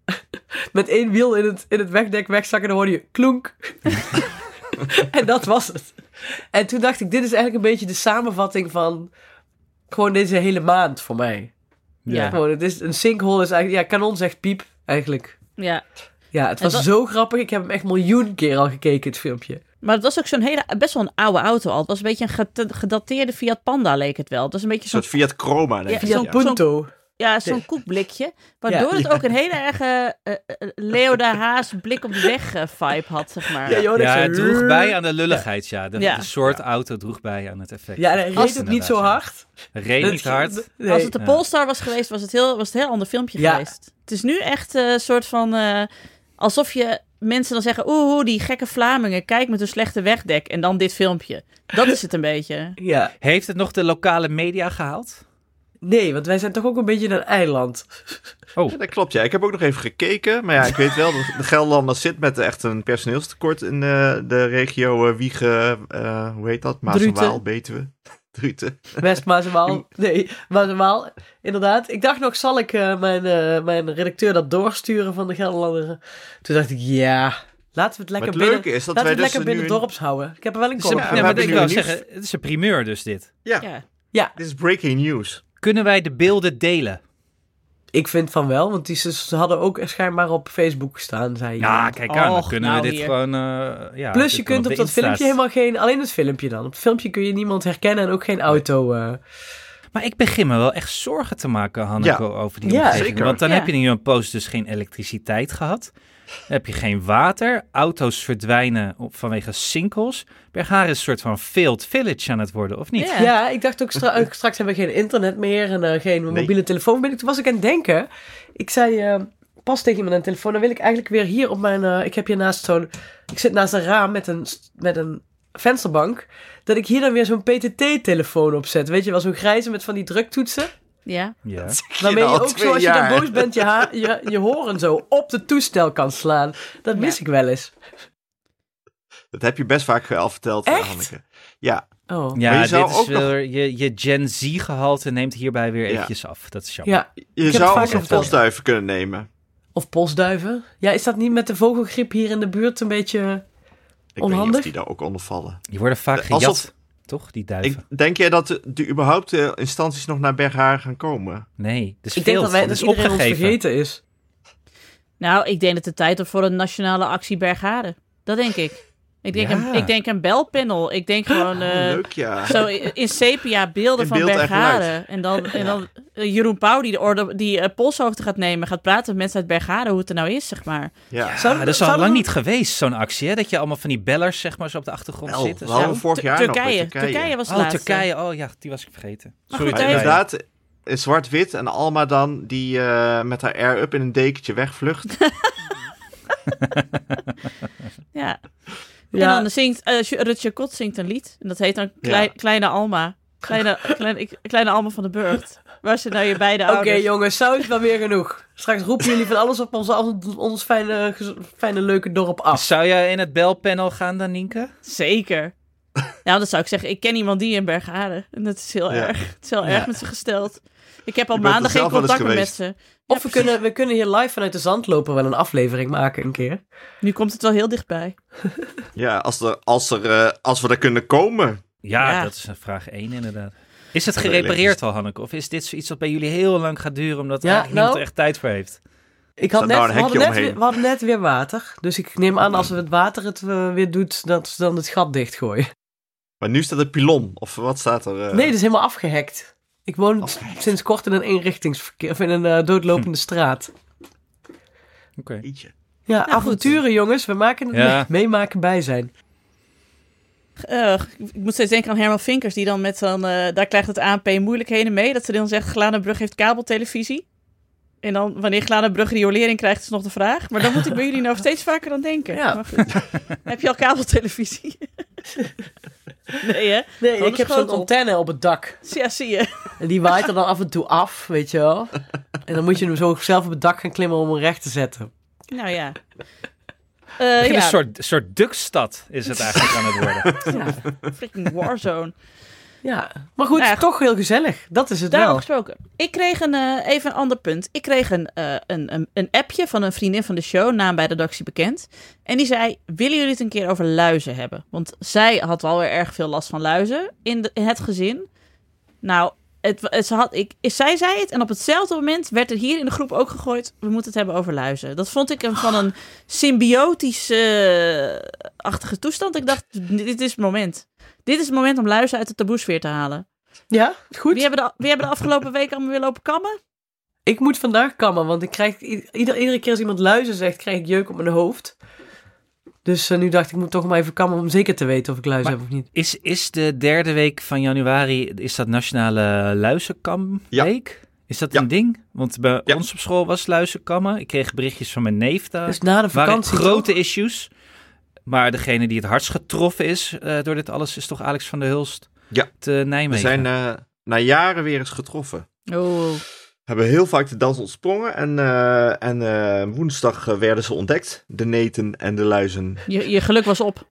[SPEAKER 2] met één wiel in het, in het wegdek wegzakken. Dan hoorde je klonk. en dat was het. En toen dacht ik, dit is eigenlijk een beetje de samenvatting van... Gewoon deze hele maand voor mij.
[SPEAKER 1] Ja.
[SPEAKER 2] Gewoon, het is een sinkhole is eigenlijk. Ja, kanon zegt piep eigenlijk.
[SPEAKER 1] Ja.
[SPEAKER 2] Ja, het was
[SPEAKER 1] wa-
[SPEAKER 2] zo grappig. Ik heb hem echt miljoen keer al gekeken, het filmpje.
[SPEAKER 1] Maar het was ook zo'n hele, best wel een oude auto al. Het was een beetje een gete- gedateerde Fiat Panda, leek het wel. Het was een beetje
[SPEAKER 4] Een
[SPEAKER 1] zo'n
[SPEAKER 4] soort Fiat Chroma, denk
[SPEAKER 1] Ja,
[SPEAKER 4] ik.
[SPEAKER 2] Via
[SPEAKER 1] zo'n-
[SPEAKER 2] Punto.
[SPEAKER 1] ja, zo'n koekblikje. Waardoor
[SPEAKER 2] Ja.
[SPEAKER 1] het ook een hele erge eh, eh, Leoda Haas blik op de weg eh, vibe had, zeg maar.
[SPEAKER 2] Ja, joh, dat
[SPEAKER 3] Ja,
[SPEAKER 2] zo-
[SPEAKER 3] het droeg bij aan de lulligheid, ja. De,
[SPEAKER 1] Ja.
[SPEAKER 3] de soort auto droeg bij aan het effect.
[SPEAKER 2] Ja, en hij reed
[SPEAKER 3] Als-
[SPEAKER 2] het niet zo hard.
[SPEAKER 3] Reed niet hard.
[SPEAKER 2] Nee.
[SPEAKER 1] Als het de
[SPEAKER 3] Ja.
[SPEAKER 1] Polestar was geweest, was het, heel, was het een heel ander filmpje
[SPEAKER 2] Ja.
[SPEAKER 1] geweest. Het is nu echt een soort van... eh, alsof je mensen dan zeggen, oeh, oeh, die gekke Vlamingen, kijk met hun slechte wegdek. En dan dit filmpje. Dat is het een beetje.
[SPEAKER 2] Ja.
[SPEAKER 3] Heeft het nog de lokale media gehaald?
[SPEAKER 2] Nee, want wij zijn toch ook een beetje een eiland.
[SPEAKER 3] Oh,
[SPEAKER 4] Ja, dat klopt, ja. Ik heb ook nog even gekeken. Maar ja, ik weet wel, dat de Gelderlander zit met echt een personeelstekort in de, de regio eh, Wiegen. eh, hoe heet dat? Maas en
[SPEAKER 2] Druten.
[SPEAKER 4] Waal, Betuwe. Druten.
[SPEAKER 2] West Maasemaal. Nee, Maasemaal. Inderdaad. Ik dacht nog, zal ik eh, mijn, eh, mijn redacteur dat doorsturen van de Gelderlander? Toen dacht ik, ja, laten we het
[SPEAKER 4] Maar
[SPEAKER 2] lekker
[SPEAKER 4] het
[SPEAKER 2] binnen...
[SPEAKER 4] leuke is dat
[SPEAKER 2] Laten we
[SPEAKER 4] wij
[SPEAKER 2] het
[SPEAKER 4] dus
[SPEAKER 2] lekker
[SPEAKER 4] nu...
[SPEAKER 2] binnen
[SPEAKER 4] een-
[SPEAKER 2] dorps houden. Ik heb er wel een
[SPEAKER 3] Ze-
[SPEAKER 2] kolom
[SPEAKER 4] Ja,
[SPEAKER 3] nee,
[SPEAKER 2] voor.
[SPEAKER 4] we
[SPEAKER 3] maar
[SPEAKER 4] hebben
[SPEAKER 3] ik
[SPEAKER 4] nu
[SPEAKER 3] wou
[SPEAKER 4] een nieuws.
[SPEAKER 3] zeggen, het is een primeur dus dit.
[SPEAKER 4] Ja,
[SPEAKER 1] Ja.
[SPEAKER 4] dit is breaking news.
[SPEAKER 3] Kunnen wij de beelden delen?
[SPEAKER 2] Ik vind van wel, want die, ze, ze hadden ook schijnbaar op Facebook gestaan, zei
[SPEAKER 3] Ja,
[SPEAKER 2] je.
[SPEAKER 3] kijk aan, dan
[SPEAKER 1] Och,
[SPEAKER 3] kunnen
[SPEAKER 1] nou
[SPEAKER 3] we dit
[SPEAKER 1] weer.
[SPEAKER 3] gewoon... eh, ja,
[SPEAKER 2] Plus je
[SPEAKER 3] dit
[SPEAKER 2] kunt op
[SPEAKER 3] kan de
[SPEAKER 2] dat filmpje
[SPEAKER 3] Insta's.
[SPEAKER 2] helemaal geen... Alleen het filmpje dan. Op het filmpje kun je niemand herkennen en ook geen auto... eh.
[SPEAKER 3] Maar ik begin me wel echt zorgen te maken, Hanneke, over die
[SPEAKER 2] Ja,
[SPEAKER 3] omgeving.
[SPEAKER 4] zeker.
[SPEAKER 3] Want dan
[SPEAKER 1] Ja.
[SPEAKER 3] heb je in Johan Post dus geen elektriciteit gehad. Dan heb je geen water. Auto's verdwijnen op- vanwege sinkholes. Bergharen is een soort van failed village aan het worden, of niet?
[SPEAKER 1] Ja.
[SPEAKER 2] Ja. ik dacht ook stra- eh, straks hebben we geen internet meer en eh, geen mobiele
[SPEAKER 4] Nee.
[SPEAKER 2] telefoon. meer. Toen was ik aan het denken. Ik zei eh, pas tegen iemand aan de telefoon. Dan wil ik eigenlijk weer hier op mijn. eh, ik heb hier naast zo'n. Ik zit naast een raam met een, st- met een vensterbank. Dat ik hier dan weer zo'n PTT-telefoon opzet. Weet je wel, zo'n grijze met van die druktoetsen.
[SPEAKER 1] Ja.
[SPEAKER 3] Ja.
[SPEAKER 2] Waarmee je
[SPEAKER 4] al
[SPEAKER 2] ook
[SPEAKER 4] twee
[SPEAKER 2] zo, als je
[SPEAKER 4] jaar.
[SPEAKER 2] dan boos bent, je, ha- je, je horen zo op het toestel kan slaan. Dat mis
[SPEAKER 1] Ja.
[SPEAKER 2] ik wel eens.
[SPEAKER 4] Dat heb je best vaak al verteld, eh,
[SPEAKER 2] Echt?
[SPEAKER 4] Hanneke. Ja,
[SPEAKER 2] Oh.
[SPEAKER 3] Ja,
[SPEAKER 4] Maar je
[SPEAKER 3] dit
[SPEAKER 4] zou
[SPEAKER 3] is
[SPEAKER 4] ook
[SPEAKER 3] wel, je, je Gen Z-gehalte neemt hierbij weer
[SPEAKER 4] Ja.
[SPEAKER 3] eventjes af. Dat is jammer.
[SPEAKER 2] ja.
[SPEAKER 4] je
[SPEAKER 2] het
[SPEAKER 4] zou
[SPEAKER 2] vaker
[SPEAKER 4] ook een
[SPEAKER 2] verteld.
[SPEAKER 4] postduiven kunnen nemen.
[SPEAKER 2] Of polsduiven. Ja, is dat niet met de vogelgriep hier in de buurt een beetje...
[SPEAKER 4] Ik weet niet
[SPEAKER 2] Onhandig?
[SPEAKER 4] of die daar ook onder vallen.
[SPEAKER 3] Die worden vaak gejat,
[SPEAKER 4] Eh, Alsof-
[SPEAKER 3] toch? Die duiven.
[SPEAKER 4] Ik, denk jij dat de, de überhaupt de instanties nog naar Bergharen gaan komen?
[SPEAKER 3] Nee, dus
[SPEAKER 2] Ik denk dat, wij, dat
[SPEAKER 3] is
[SPEAKER 2] iedereen ons
[SPEAKER 3] opgegeven.
[SPEAKER 2] vergeten is.
[SPEAKER 1] Nou, ik denk dat het tijd wordt voor een nationale actie Bergharen. Dat denk ik. Ik denk,
[SPEAKER 4] Ja.
[SPEAKER 1] een, ik denk een belpanel. Ik denk gewoon
[SPEAKER 4] Oh,
[SPEAKER 1] eh,
[SPEAKER 4] leuk, ja.
[SPEAKER 1] zo in in sepia beelden
[SPEAKER 4] In
[SPEAKER 1] van
[SPEAKER 4] beeld en
[SPEAKER 1] Bergharen. En dan, en dan eh, Jeroen Pauw die, de orde, die eh, polshoogte gaat nemen, gaat praten met mensen uit Bergharen hoe het er nou is, zeg maar.
[SPEAKER 4] ja.
[SPEAKER 3] Ja, Ah, dat is al lang
[SPEAKER 2] we-
[SPEAKER 3] niet geweest, zo'n actie. Hè? Dat je allemaal van die bellers zeg maar, zo op de achtergrond
[SPEAKER 4] Wel,
[SPEAKER 3] zitten.
[SPEAKER 4] we hadden
[SPEAKER 1] Nou,
[SPEAKER 4] Oh, vorig
[SPEAKER 1] Tu-
[SPEAKER 4] jaar nog met
[SPEAKER 1] Turkije.
[SPEAKER 4] Turkije.
[SPEAKER 1] was het
[SPEAKER 3] Oh,
[SPEAKER 1] laatste.
[SPEAKER 3] Turkije. Oh ja, die was ik vergeten.
[SPEAKER 1] Maar
[SPEAKER 3] Sorry,
[SPEAKER 1] goed,
[SPEAKER 4] Maar
[SPEAKER 1] Turkije.
[SPEAKER 3] Turkije.
[SPEAKER 4] inderdaad, eh, zwart-wit en Alma dan, die eh, met haar air-up in een dekentje wegvlucht.
[SPEAKER 1] Ja.
[SPEAKER 2] Ja.
[SPEAKER 1] En dan zingt eh, Ju- Rutje Kot zingt een lied. En dat heet dan Klei-
[SPEAKER 4] Ja.
[SPEAKER 1] Kleine Alma. Kleine, kleine, ik- kleine Alma van de Burgt. Waar zijn nou je beide
[SPEAKER 2] Oké
[SPEAKER 1] ouders?
[SPEAKER 2] jongens, zou het wel weer genoeg. Straks roepen jullie van alles op ons, ons fijne, gez- fijne leuke dorp af.
[SPEAKER 3] Zou jij in het belpanel gaan dan, Nienke?
[SPEAKER 1] Zeker. Nou, dat zou ik zeggen. Ik ken iemand die in Bergharen. En dat is heel
[SPEAKER 4] Ja.
[SPEAKER 1] erg. Het is heel
[SPEAKER 3] Ja.
[SPEAKER 1] erg met ze gesteld. Ik heb al
[SPEAKER 4] Je bent
[SPEAKER 1] maanden
[SPEAKER 4] er
[SPEAKER 1] geen
[SPEAKER 4] zelf wel eens
[SPEAKER 1] contact meer met
[SPEAKER 4] geweest.
[SPEAKER 1] ze.
[SPEAKER 2] Of we kunnen, we kunnen hier live vanuit de zandloper wel een aflevering maken een keer.
[SPEAKER 1] Nu komt het wel heel dichtbij.
[SPEAKER 4] ja, als, er, als, er, eh, als we er kunnen komen.
[SPEAKER 3] Ja,
[SPEAKER 1] Ja.
[SPEAKER 3] dat is een vraag 1 inderdaad. Is het
[SPEAKER 4] Dat weet ik
[SPEAKER 3] gerepareerd
[SPEAKER 4] niet.
[SPEAKER 3] al, Hanneke? Of is dit zoiets wat bij jullie heel lang gaat duren, omdat
[SPEAKER 2] Ja,
[SPEAKER 3] er eigenlijk niemand
[SPEAKER 2] nou.
[SPEAKER 3] er echt tijd voor heeft?
[SPEAKER 2] Ik had
[SPEAKER 4] Staat
[SPEAKER 2] net,
[SPEAKER 4] nou een
[SPEAKER 2] we, hadden
[SPEAKER 4] hekje
[SPEAKER 2] net weer,
[SPEAKER 4] omheen.
[SPEAKER 2] we hadden net weer water. Dus ik neem aan als we het water het eh, weer doet, dat ze dan het gat dichtgooien.
[SPEAKER 4] Maar nu staat het pilon, of wat staat er? eh?
[SPEAKER 2] Nee, dat is helemaal afgehackt. Ik woon
[SPEAKER 4] Afgehackt.
[SPEAKER 2] sinds kort in een inrichtingsverkeer, of in een eh, doodlopende
[SPEAKER 4] Hm.
[SPEAKER 2] straat.
[SPEAKER 3] Oké.
[SPEAKER 1] Eh,
[SPEAKER 4] Jeetje.
[SPEAKER 2] Ja, avonturen jongens, we maken het
[SPEAKER 3] Ja.
[SPEAKER 2] mee- meemaken bij zijn.
[SPEAKER 1] Eh, ik moet steeds denken aan Herman Vinkers. Die dan met dan... eh, daar krijgt het ANP moeilijkheden mee. Dat ze dan zegt, Gladenbrug heeft kabeltelevisie. En dan, wanneer Gladenbrug riolering krijgt, is nog de vraag. Maar dan moet ik bij jullie nou steeds vaker aan denken.
[SPEAKER 2] Ja.
[SPEAKER 1] Maar goed. heb je al kabeltelevisie? nee, hè?
[SPEAKER 2] Nee,
[SPEAKER 1] Oh,
[SPEAKER 2] ik
[SPEAKER 1] de
[SPEAKER 2] heb zo'n
[SPEAKER 1] schotel.
[SPEAKER 2] antenne op het dak.
[SPEAKER 1] Ja, zie je.
[SPEAKER 2] En die waait er dan af en toe af, weet je wel. En dan moet je hem zo zelf op het dak gaan klimmen om hem recht te zetten.
[SPEAKER 1] Nou ja. Eh,
[SPEAKER 3] Begin
[SPEAKER 1] ja,
[SPEAKER 3] Een soort, soort duckstad is het eigenlijk aan het worden.
[SPEAKER 2] Ja,
[SPEAKER 1] freaking warzone.
[SPEAKER 2] ja. Nou, maar goed,
[SPEAKER 1] Nou ja,
[SPEAKER 2] toch heel gezellig. Dat is het
[SPEAKER 1] Daarom
[SPEAKER 2] wel.
[SPEAKER 1] gesproken. Ik kreeg een, eh, even een ander punt. Ik kreeg een, eh, een, een, een appje van een vriendin van de show, naam bij de redactie bekend. En die zei, willen jullie het een keer over luizen hebben? Want zij had wel weer erg veel last van luizen in, de- in het gezin. Nou, het, wa- ze had, ik, zij zei het en op hetzelfde moment werd er hier in de groep ook gegooid... we moeten het hebben over luizen. Dat vond ik een, van een symbiotische eh, achtige toestand. Ik dacht, dit is het moment. Dit is het moment om luizen uit de taboesfeer te halen.
[SPEAKER 2] Ja, goed.
[SPEAKER 1] Wie hebben, de, wie hebben de afgelopen week allemaal weer lopen kammen?
[SPEAKER 2] Ik moet vandaag kammen, want ik krijg, i- ieder, iedere keer als iemand luizen zegt, krijg ik jeuk op mijn hoofd. Dus eh, nu dacht ik, ik moet toch maar even kammen om zeker te weten of ik luizen
[SPEAKER 3] Maar-
[SPEAKER 2] heb of niet.
[SPEAKER 3] Is, is de derde week van januari, is dat Nationale Luizenkamweek?
[SPEAKER 4] Ja.
[SPEAKER 3] Week? Is dat
[SPEAKER 4] Ja.
[SPEAKER 3] een ding? Want bij
[SPEAKER 4] Ja.
[SPEAKER 3] ons op school was luizenkammen. Ik kreeg berichtjes van mijn neef daar.
[SPEAKER 2] Dus na de
[SPEAKER 3] waren
[SPEAKER 2] vakantie.
[SPEAKER 3] grote issues. Maar degene die het hardst getroffen is eh, door dit alles is toch Alex van der Hulst
[SPEAKER 4] Ja.
[SPEAKER 3] te
[SPEAKER 4] We
[SPEAKER 3] Nijmegen.
[SPEAKER 4] zijn eh, na jaren weer eens getroffen.
[SPEAKER 1] Oh,
[SPEAKER 4] hebben heel vaak de dans ontsprongen. En, eh, en eh, woensdag eh, werden ze ontdekt. De neten en de luizen.
[SPEAKER 1] je, je geluk was op.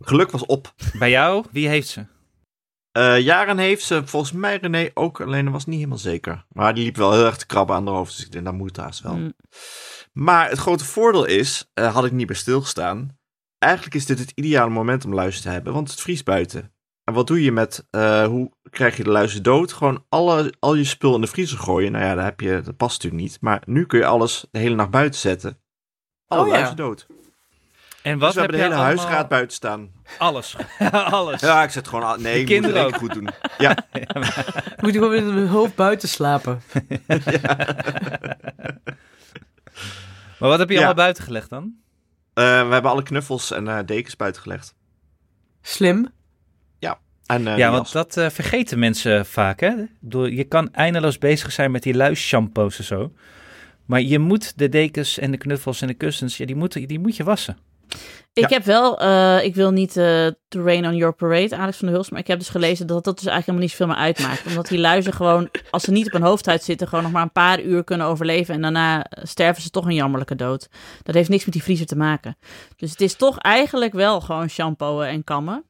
[SPEAKER 4] Geluk was op.
[SPEAKER 3] Bij jou, wie heeft ze?
[SPEAKER 4] Eh, jaren heeft ze volgens mij René ook. Alleen dat was niet helemaal zeker. Maar die liep wel heel erg te krabben aan haar hoofd. Dus ik denk, dat moet het haast
[SPEAKER 2] Hmm.
[SPEAKER 4] wel.
[SPEAKER 1] Mm.
[SPEAKER 4] Maar het grote voordeel is, eh, had ik niet bij stilgestaan. Eigenlijk is dit het ideale moment om luizen te hebben, want het vriest buiten. En wat doe je met, eh, hoe krijg je de luizen dood? Gewoon alle, al je spul in de vriezer gooien. Nou ja, dat, heb je, dat past natuurlijk niet. Maar nu kun je alles de hele nacht buiten zetten. Alle
[SPEAKER 2] Oh ja.
[SPEAKER 4] luizen dood.
[SPEAKER 3] En
[SPEAKER 4] dus
[SPEAKER 3] wat
[SPEAKER 4] we
[SPEAKER 3] heb
[SPEAKER 4] hebben de
[SPEAKER 3] jij
[SPEAKER 4] hele
[SPEAKER 3] allemaal-
[SPEAKER 4] huisraad buiten staan.
[SPEAKER 3] Alles. alles.
[SPEAKER 4] Ja, ik zet gewoon... al- Nee,
[SPEAKER 3] De
[SPEAKER 4] ik moet het
[SPEAKER 3] kinderen
[SPEAKER 4] ook goed doen. Ja,
[SPEAKER 2] Moet je gewoon met mijn hoofd buiten slapen.
[SPEAKER 3] Maar wat heb je
[SPEAKER 4] Ja.
[SPEAKER 3] allemaal buiten gelegd dan?
[SPEAKER 4] eh, we hebben alle knuffels en eh, dekens buiten gelegd.
[SPEAKER 2] Slim.
[SPEAKER 4] En,
[SPEAKER 3] ja,
[SPEAKER 4] eh, die
[SPEAKER 3] want
[SPEAKER 4] jas.
[SPEAKER 3] dat eh, vergeten mensen vaak, hè? Ik bedoel, Je kan eindeloos bezig zijn met die luisshampoos en zo. Maar je moet de dekens en de knuffels en de kussens, ja, die, moet, die moet je wassen.
[SPEAKER 1] Ik heb wel, eh, ik wil niet eh to rain on your parade, Alex van der Hulst, maar ik heb dus gelezen dat dat dus eigenlijk helemaal niet zoveel meer uitmaakt. Omdat die luizen gewoon, als ze niet op hun hoofdhuid zitten, gewoon nog maar een paar uur kunnen overleven en daarna eh, sterven ze toch een jammerlijke dood. Dat heeft niks met die vriezer te maken. Dus het is toch eigenlijk wel gewoon shampooen en kammen.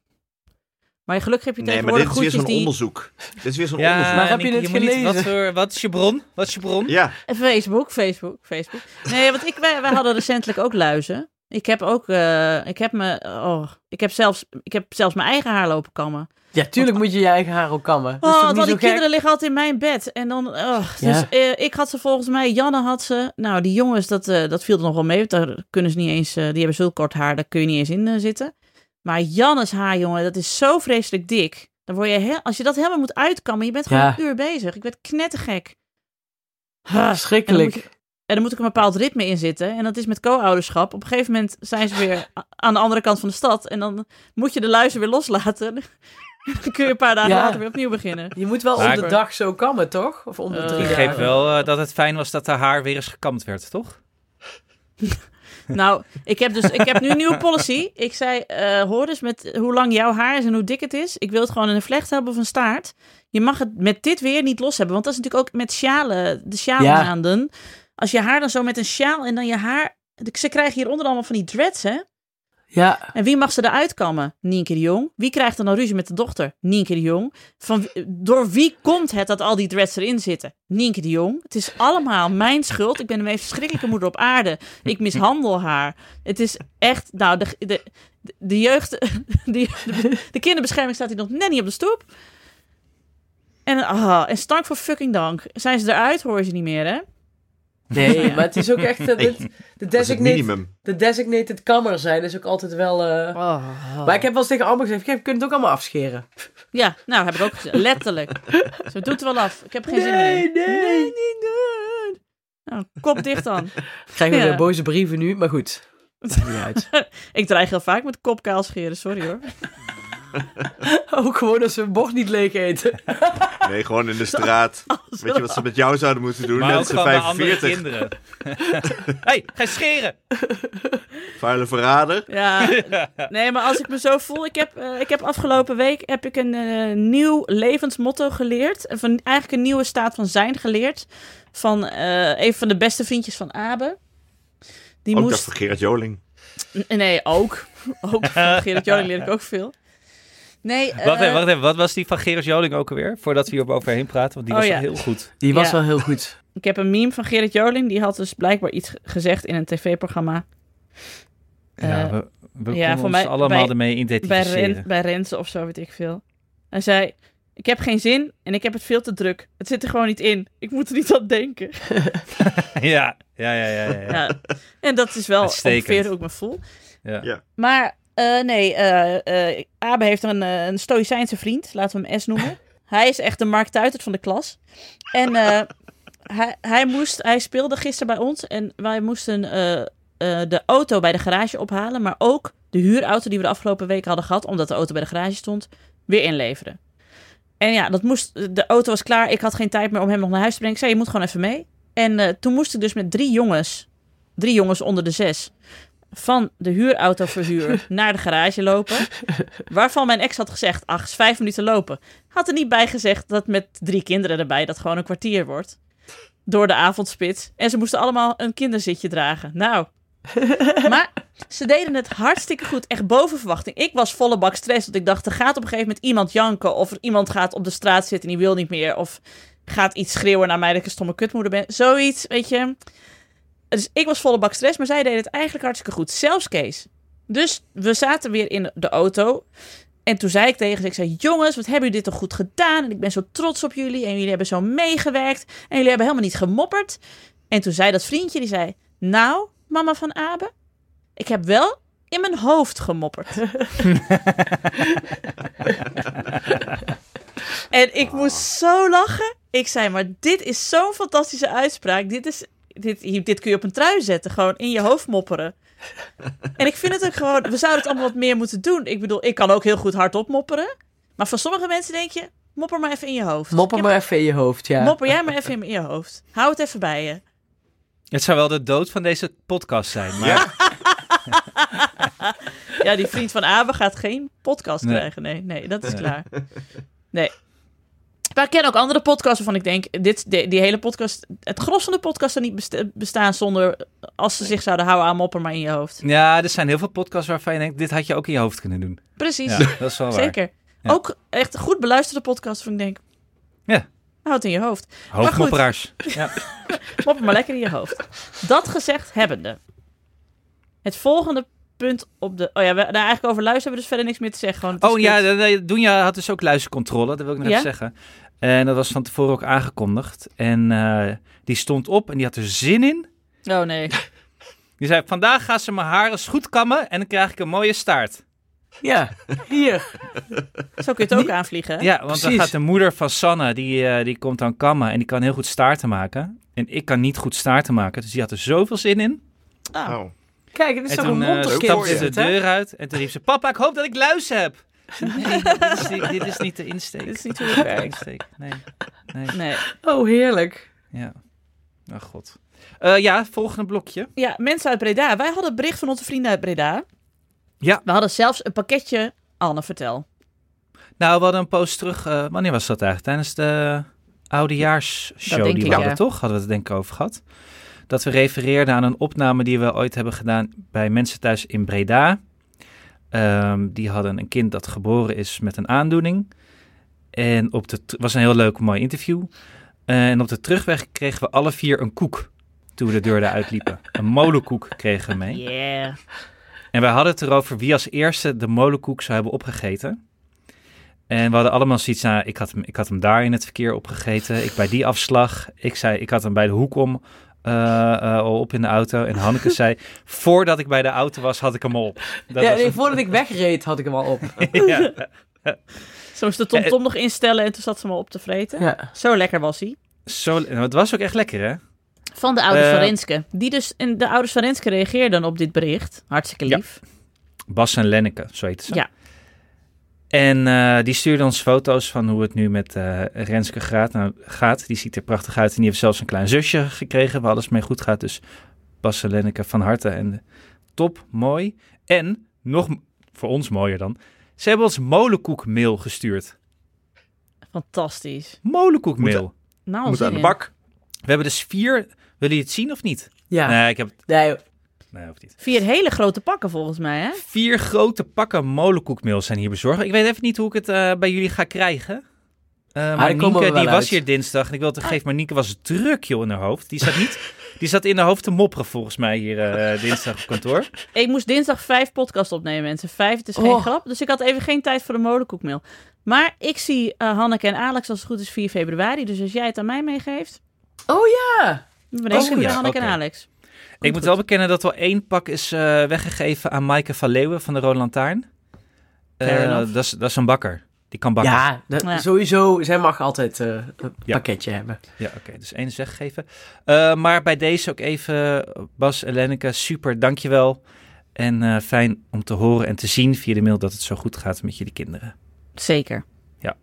[SPEAKER 1] Maar gelukkig heb je
[SPEAKER 4] Nee, maar dit
[SPEAKER 1] tegenwoordig
[SPEAKER 4] is weer
[SPEAKER 1] groetjes
[SPEAKER 4] zo'n
[SPEAKER 1] die...
[SPEAKER 4] onderzoek. Dit is weer zo'n
[SPEAKER 3] Ja,
[SPEAKER 4] onderzoek.
[SPEAKER 2] Maar heb je
[SPEAKER 3] Nienke,
[SPEAKER 2] het
[SPEAKER 3] moet niet-
[SPEAKER 2] gelezen?
[SPEAKER 3] wat, voor, wat is je bron? Wat is je bron?
[SPEAKER 4] Ja,
[SPEAKER 1] En Facebook, Facebook, Facebook. Nee, want ik, wij, wij hadden recentelijk ook luizen. Ik heb ook, eh, ik heb me, oh, ik heb zelfs, ik heb zelfs mijn eigen haar lopen kammen.
[SPEAKER 2] Ja, tuurlijk moet je je eigen haar ook kammen. Dat is
[SPEAKER 1] Oh,
[SPEAKER 2] toch
[SPEAKER 1] want
[SPEAKER 2] niet
[SPEAKER 1] die
[SPEAKER 2] zo gek?
[SPEAKER 1] kinderen liggen altijd in mijn bed. En dan, ugh,
[SPEAKER 2] Ja.
[SPEAKER 1] dus eh, ik had ze volgens mij, Janne had ze. Nou, die jongens, dat, eh, dat viel er nog wel mee. want Daar kunnen ze niet eens, eh, die hebben zulk kort haar, daar kun je niet eens in eh, zitten. Maar Jannes haar, jongen, dat is zo vreselijk dik. Dan word je, he- als je dat helemaal moet uitkammen, je bent gewoon
[SPEAKER 2] Ja.
[SPEAKER 1] een uur bezig. Ik werd knettergek.
[SPEAKER 2] Ah, Schrikkelijk.
[SPEAKER 1] En dan, moet ik, en dan moet ik een bepaald ritme in zitten. En dat is met co-ouderschap. Op een gegeven moment zijn ze weer a- aan de andere kant van de stad. En dan moet je de luizen weer loslaten. dan kun je een paar dagen
[SPEAKER 2] Ja.
[SPEAKER 1] later weer opnieuw beginnen.
[SPEAKER 2] Je moet wel
[SPEAKER 3] Maar-
[SPEAKER 2] om de dag zo kammen, toch? Of om de
[SPEAKER 1] Eh,
[SPEAKER 2] drie
[SPEAKER 3] Ik
[SPEAKER 1] Ja.
[SPEAKER 3] geef
[SPEAKER 2] dagen.
[SPEAKER 3] wel eh, dat het fijn was dat haar haar weer eens gekamd werd, toch?
[SPEAKER 1] Nou, ik heb dus ik heb nu een nieuwe policy. Ik zei, eh, hoor dus met hoe lang jouw haar is en hoe dik het is. Ik wil het gewoon in een vlecht hebben of een staart. Je mag het met dit weer niet los hebben. Want dat is natuurlijk ook met sjalen, de sjaalmaanden. Als je haar dan zo met een sjaal en dan je haar... Ze krijgen hieronder allemaal van die dreads, hè?
[SPEAKER 2] Ja,
[SPEAKER 1] En wie mag ze eruit kammen? Nienke de Jong. Wie krijgt er dan ruzie met de dochter? Nienke de Jong. Van, wie- door wie komt het dat al die dreads erin zitten? Nienke de Jong. Het is allemaal mijn schuld. Ik ben de meest verschrikkelijke moeder op aarde. Ik mishandel haar. Het is echt... Nou, de, de, de jeugd... De, de, de kinderbescherming staat hier nog net niet op de stoep. En, ah, en stank voor fucking dank. Zijn ze eruit, hoor je ze niet meer, hè?
[SPEAKER 2] nee, maar het is ook echt... eh, dit- de,
[SPEAKER 4] dat is het
[SPEAKER 2] designate,
[SPEAKER 4] minimum.
[SPEAKER 2] de designated kammer zijn is ook altijd wel... eh,
[SPEAKER 1] Oh.
[SPEAKER 2] Maar ik heb wel eens tegen Amber gezegd, je kunt het ook allemaal afscheren.
[SPEAKER 1] Ja, nou, heb ik ook gezegd. Letterlijk. Ze doet het wel af. Ik heb geen zin meer. in.
[SPEAKER 2] Nee, nee. nee.
[SPEAKER 1] niet doen. Nou, kop dicht dan.
[SPEAKER 2] Krijgen we
[SPEAKER 1] Ja.
[SPEAKER 2] weer boze brieven nu, maar goed. Maakt niet uit.
[SPEAKER 1] Ik dreig heel vaak met kop kaal scheren, sorry hoor.
[SPEAKER 2] Ook gewoon als ze een bord niet leeg eten.
[SPEAKER 4] Nee, gewoon in de straat. Weet je wat ze met jou zouden moeten doen?
[SPEAKER 3] maar ook
[SPEAKER 4] Net ze
[SPEAKER 3] gewoon bij andere
[SPEAKER 4] 45.
[SPEAKER 3] kinderen. hey, ga je scheren!
[SPEAKER 4] Vuile verrader.
[SPEAKER 1] Ja, nee, maar als ik me zo voel, ik heb, eh, ik heb afgelopen week heb ik een eh, nieuw levensmotto geleerd. Of een, eigenlijk een nieuwe staat van zijn geleerd. Van eh, een van de beste vriendjes van Abe. Die
[SPEAKER 4] ook dat
[SPEAKER 1] moest
[SPEAKER 4] van Gerard Joling.
[SPEAKER 1] N- Nee, ook. ook van Gerrit Joling leer ik ook veel. Nee, eh,
[SPEAKER 3] Wacht even, wacht even. Wat was die van Gerard Joling ook alweer? Voordat we hierover overheen praten, want die
[SPEAKER 1] Oh
[SPEAKER 3] was
[SPEAKER 1] ja.
[SPEAKER 3] wel heel goed.
[SPEAKER 2] Die was
[SPEAKER 1] Ja.
[SPEAKER 2] wel heel goed.
[SPEAKER 1] Ik heb een meme van Gerrit Joling. Die had dus blijkbaar iets ge- gezegd in een tv-programma.
[SPEAKER 3] ja,
[SPEAKER 1] Eh,
[SPEAKER 3] we, we
[SPEAKER 1] ja,
[SPEAKER 3] konden
[SPEAKER 1] voor
[SPEAKER 3] ons
[SPEAKER 1] mij-
[SPEAKER 3] allemaal
[SPEAKER 1] bij-
[SPEAKER 3] ermee
[SPEAKER 1] bij,
[SPEAKER 3] identificeren.
[SPEAKER 1] Ren, bij Renze of zo, weet ik veel. Hij zei, ik heb geen zin en ik heb het veel te druk. Het zit er gewoon niet in. Ik moet er niet aan denken.
[SPEAKER 3] ja, ja, ja, ja. ja, ja.
[SPEAKER 1] Ja. En dat is wel
[SPEAKER 3] Uitstekend.
[SPEAKER 1] ongeveer hoe ik me voel.
[SPEAKER 3] Ja.
[SPEAKER 4] Ja.
[SPEAKER 1] Maar eh, nee, eh eh, Abe heeft een, eh, een Stoïcijnse vriend. Laten we hem S noemen. hij is echt de Mark Tuitert van de klas. En eh, hij, hij, moest, hij speelde gisteren bij ons. En wij moesten eh, eh, de auto bij de garage ophalen. Maar ook de huurauto die we de afgelopen week hadden gehad. Omdat de auto bij de garage stond. Weer inleveren. En ja, dat moest, de auto was klaar. Ik had geen tijd meer om hem nog naar huis te brengen. Ik zei, je moet gewoon even mee. En eh, toen moest ik dus met drie jongens, drie jongens onder de zes, van de huurautoverhuur naar de garage lopen. Waarvan mijn ex had gezegd, ach, is vijf minuten lopen. Had er niet bij gezegd dat met drie kinderen erbij dat gewoon een kwartier wordt. Door de avondspits. En ze moesten allemaal een kinderzitje dragen. Nou, maar ze deden het hartstikke goed. Echt boven verwachting. Ik was volle bak stress. Want ik dacht, er gaat op een gegeven moment iemand janken. Of er iemand gaat op de straat zitten en die wil niet meer. Of gaat iets schreeuwen naar mij dat ik een stomme kutmoeder ben. Zoiets, weet je. Dus ik was volle bak stress. Maar zij deden het eigenlijk hartstikke goed. Zelfs Kees. Dus we zaten weer in de auto. En toen zei ik tegen ze, ik zei, jongens, wat hebben jullie dit toch goed gedaan? En ik ben zo trots op jullie. En jullie hebben zo meegewerkt. En jullie hebben helemaal niet gemopperd. En toen zei dat vriendje, die zei, nou, mama van Abe, ik heb wel in mijn hoofd gemopperd. en ik moest zo lachen. Ik zei, maar dit is zo'n fantastische uitspraak. Dit, is, dit, hier- dit kun je op een trui zetten, gewoon in je hoofd mopperen. En ik vind het ook gewoon, we zouden het allemaal wat meer moeten doen. Ik bedoel, ik kan ook heel goed hardop mopperen. Maar van sommige mensen denk je, mopper maar even in je hoofd.
[SPEAKER 2] Moppen maar even in je hoofd, ja.
[SPEAKER 1] Mopper jij maar even in je hoofd. Hou het even bij je.
[SPEAKER 3] Het zou wel de dood van deze podcast zijn, maar
[SPEAKER 1] Ja, die vriend van Abe gaat geen podcast
[SPEAKER 3] Nee.
[SPEAKER 1] krijgen. Nee, nee, dat is
[SPEAKER 3] Nee.
[SPEAKER 1] klaar. Nee. Maar ik ken ook andere podcasts waarvan ik denk, dit, de- die hele podcast, het gros van de podcast zou niet best- bestaan zonder, als ze zich zouden houden aan mopper maar in je hoofd.
[SPEAKER 3] ja, er zijn heel veel podcasts waarvan je denkt, dit had je ook in je hoofd kunnen doen.
[SPEAKER 1] Precies,
[SPEAKER 3] Ja, dat is wel waar.
[SPEAKER 1] zeker.
[SPEAKER 3] Ja.
[SPEAKER 1] Ook echt goed beluisterde podcasts van ik denk,
[SPEAKER 3] Ja.
[SPEAKER 1] houd het in je hoofd.
[SPEAKER 3] Hoofdmopperaars. Ja.
[SPEAKER 1] Mopper maar lekker in je hoofd. Dat gezegd hebbende. Het volgende punt op de, oh ja, we, nou, eigenlijk over luisteren hebben we dus verder niks meer te zeggen. Gewoon, het is
[SPEAKER 3] Oh ja,
[SPEAKER 1] kut.
[SPEAKER 3] nee, nee, Doenja had dus ook luistercontrole, dat wil ik nog
[SPEAKER 1] Ja?
[SPEAKER 3] even zeggen. En dat was van tevoren ook aangekondigd. En eh, die stond op en die had er zin in.
[SPEAKER 1] Oh nee.
[SPEAKER 3] Die zei, vandaag gaan ze mijn haar eens goed kammen en dan krijg ik een mooie staart.
[SPEAKER 2] Ja, hier.
[SPEAKER 1] Zo kun je het ook aanvliegen. hè?
[SPEAKER 3] Ja, want dan
[SPEAKER 2] Precies.
[SPEAKER 3] gaat de moeder van Sanne, die, eh, die komt dan kammen en die kan heel goed staarten maken. En ik kan niet goed staarten maken, dus die had er zoveel zin in.
[SPEAKER 1] Ah.
[SPEAKER 4] Oh.
[SPEAKER 2] Kijk, het is
[SPEAKER 3] En
[SPEAKER 2] toch een
[SPEAKER 3] toen eh,
[SPEAKER 2] monterskind
[SPEAKER 3] stapte
[SPEAKER 4] is
[SPEAKER 3] ze de
[SPEAKER 2] dit, hè?
[SPEAKER 3] deur uit en toen riep ze, papa, ik hoop dat ik luizen heb. Nee, dit is, niet- dit is niet de insteek.
[SPEAKER 1] Dit is niet hoe het
[SPEAKER 3] De
[SPEAKER 1] werkt.
[SPEAKER 3] insteek, nee.
[SPEAKER 1] Nee.
[SPEAKER 2] Oh, heerlijk.
[SPEAKER 3] Ja. Oh god. Eh, ja, volgende blokje.
[SPEAKER 1] Ja, mensen uit Breda. Wij hadden het bericht van onze vrienden uit Breda.
[SPEAKER 3] Ja.
[SPEAKER 1] We hadden zelfs een pakketje. Anne, vertel.
[SPEAKER 3] Nou, we hadden een post terug. eh, wanneer was dat eigenlijk? Tijdens de
[SPEAKER 1] Dat
[SPEAKER 3] oudejaarsshow
[SPEAKER 1] denk
[SPEAKER 3] die we
[SPEAKER 1] ik,
[SPEAKER 3] hadden,
[SPEAKER 1] ja.
[SPEAKER 3] toch? Hadden we het denk ik over gehad. Dat we refereerden aan een opname die we ooit hebben gedaan bij mensen thuis in Breda. Ehm, die hadden een kind dat geboren is met een aandoening. En op de, het was een heel leuk, mooi interview. Eh, en op de terugweg kregen we alle vier een koek toen we de deur eruit liepen. een molenkoek kregen we mee.
[SPEAKER 1] Yeah.
[SPEAKER 3] En wij hadden het erover wie als eerste de molenkoek zou hebben opgegeten. En we hadden allemaal zoiets, nou, ik had, hem, ik had hem daar in het verkeer opgegeten. Ik bij die afslag. Ik zei, ik had hem bij de hoek om eh, eh, op in de auto. En Hanneke zei, voordat ik bij de auto was, had ik hem al op. Dat
[SPEAKER 2] ja,
[SPEAKER 3] was
[SPEAKER 2] nee,
[SPEAKER 3] het.
[SPEAKER 2] voordat ik wegreed had ik hem al op.
[SPEAKER 3] ja.
[SPEAKER 1] Zo
[SPEAKER 3] Eh,
[SPEAKER 1] moest de TomTom nog instellen en toen zat ze me op te vreten.
[SPEAKER 2] Ja.
[SPEAKER 1] Zo lekker was hij.
[SPEAKER 3] Zo, nou, het was ook echt lekker, hè?
[SPEAKER 1] Van de ouders
[SPEAKER 3] Eh.
[SPEAKER 1] van Renske. Die dus, en de ouders van Renske reageerden op dit bericht. Hartstikke
[SPEAKER 3] Ja.
[SPEAKER 1] lief.
[SPEAKER 3] Bas en Lenneke, zo heette ze.
[SPEAKER 1] Ja.
[SPEAKER 3] En eh, die stuurde ons foto's van hoe het nu met eh, Renske gaat. Nou, gaat. Die ziet er prachtig uit. En die heeft zelfs een klein zusje gekregen waar alles mee goed gaat. Dus Bas en Lenneke van harte. En eh, top, mooi. En, nog m- voor ons mooier dan, ze hebben ons molenkoekmeel gestuurd.
[SPEAKER 1] Fantastisch.
[SPEAKER 3] Molenkoekmeel.
[SPEAKER 1] Nou,
[SPEAKER 4] Moet
[SPEAKER 1] zin
[SPEAKER 4] aan de
[SPEAKER 1] in.
[SPEAKER 4] bak.
[SPEAKER 3] We hebben dus vier... Willen jullie het zien of niet?
[SPEAKER 2] Ja. Nee.
[SPEAKER 3] Nee, ik heb het... Nee, hoeft niet.
[SPEAKER 1] Vier hele grote pakken volgens mij, hè?
[SPEAKER 3] Vier grote pakken molenkoekmeel zijn hier bezorgd. Ik weet even niet hoe ik het eh, bij jullie ga krijgen. Eh, maar
[SPEAKER 2] daar komen
[SPEAKER 3] Nienke,
[SPEAKER 2] we wel
[SPEAKER 3] die
[SPEAKER 2] uit.
[SPEAKER 3] was hier dinsdag. En ik wil geven, maar Nienke was druk, joh, in haar hoofd. Die zat niet... Die zat in haar hoofd te mopperen, volgens mij, hier eh, dinsdag op kantoor.
[SPEAKER 1] Ik moest dinsdag vijf podcasts opnemen, mensen. Vijf, het is geen
[SPEAKER 2] Oh.
[SPEAKER 1] grap. Dus ik had even geen tijd voor de molenkoekmail. Maar ik zie eh, Hanneke en Alex als het goed is 4 februari. Dus als jij het aan mij meegeeft,
[SPEAKER 2] Oh ja!
[SPEAKER 1] dan ben ik
[SPEAKER 3] Oh,
[SPEAKER 1] goed bij
[SPEAKER 3] ja,
[SPEAKER 1] Hanneke en
[SPEAKER 3] oké.
[SPEAKER 1] Alex.
[SPEAKER 3] ik moet wel bekennen dat wel één pak is eh, weggegeven aan Maaike van Leeuwen van de Rode Lantaarn. Eh,
[SPEAKER 1] Fair enough.
[SPEAKER 3] dat is- dat is een bakker. Die kan bakken.
[SPEAKER 2] Ja, dat-
[SPEAKER 1] Ja.
[SPEAKER 2] sowieso. Zij mag altijd eh, een
[SPEAKER 3] Ja.
[SPEAKER 2] pakketje hebben.
[SPEAKER 3] Ja, oké. Dus één is weggegeven. Eh, maar bij deze ook even, Bas en Lenneke, super, dankjewel. En eh, fijn om te horen en te zien via de mail dat het zo goed gaat met jullie kinderen.
[SPEAKER 1] Zeker.
[SPEAKER 3] Ja.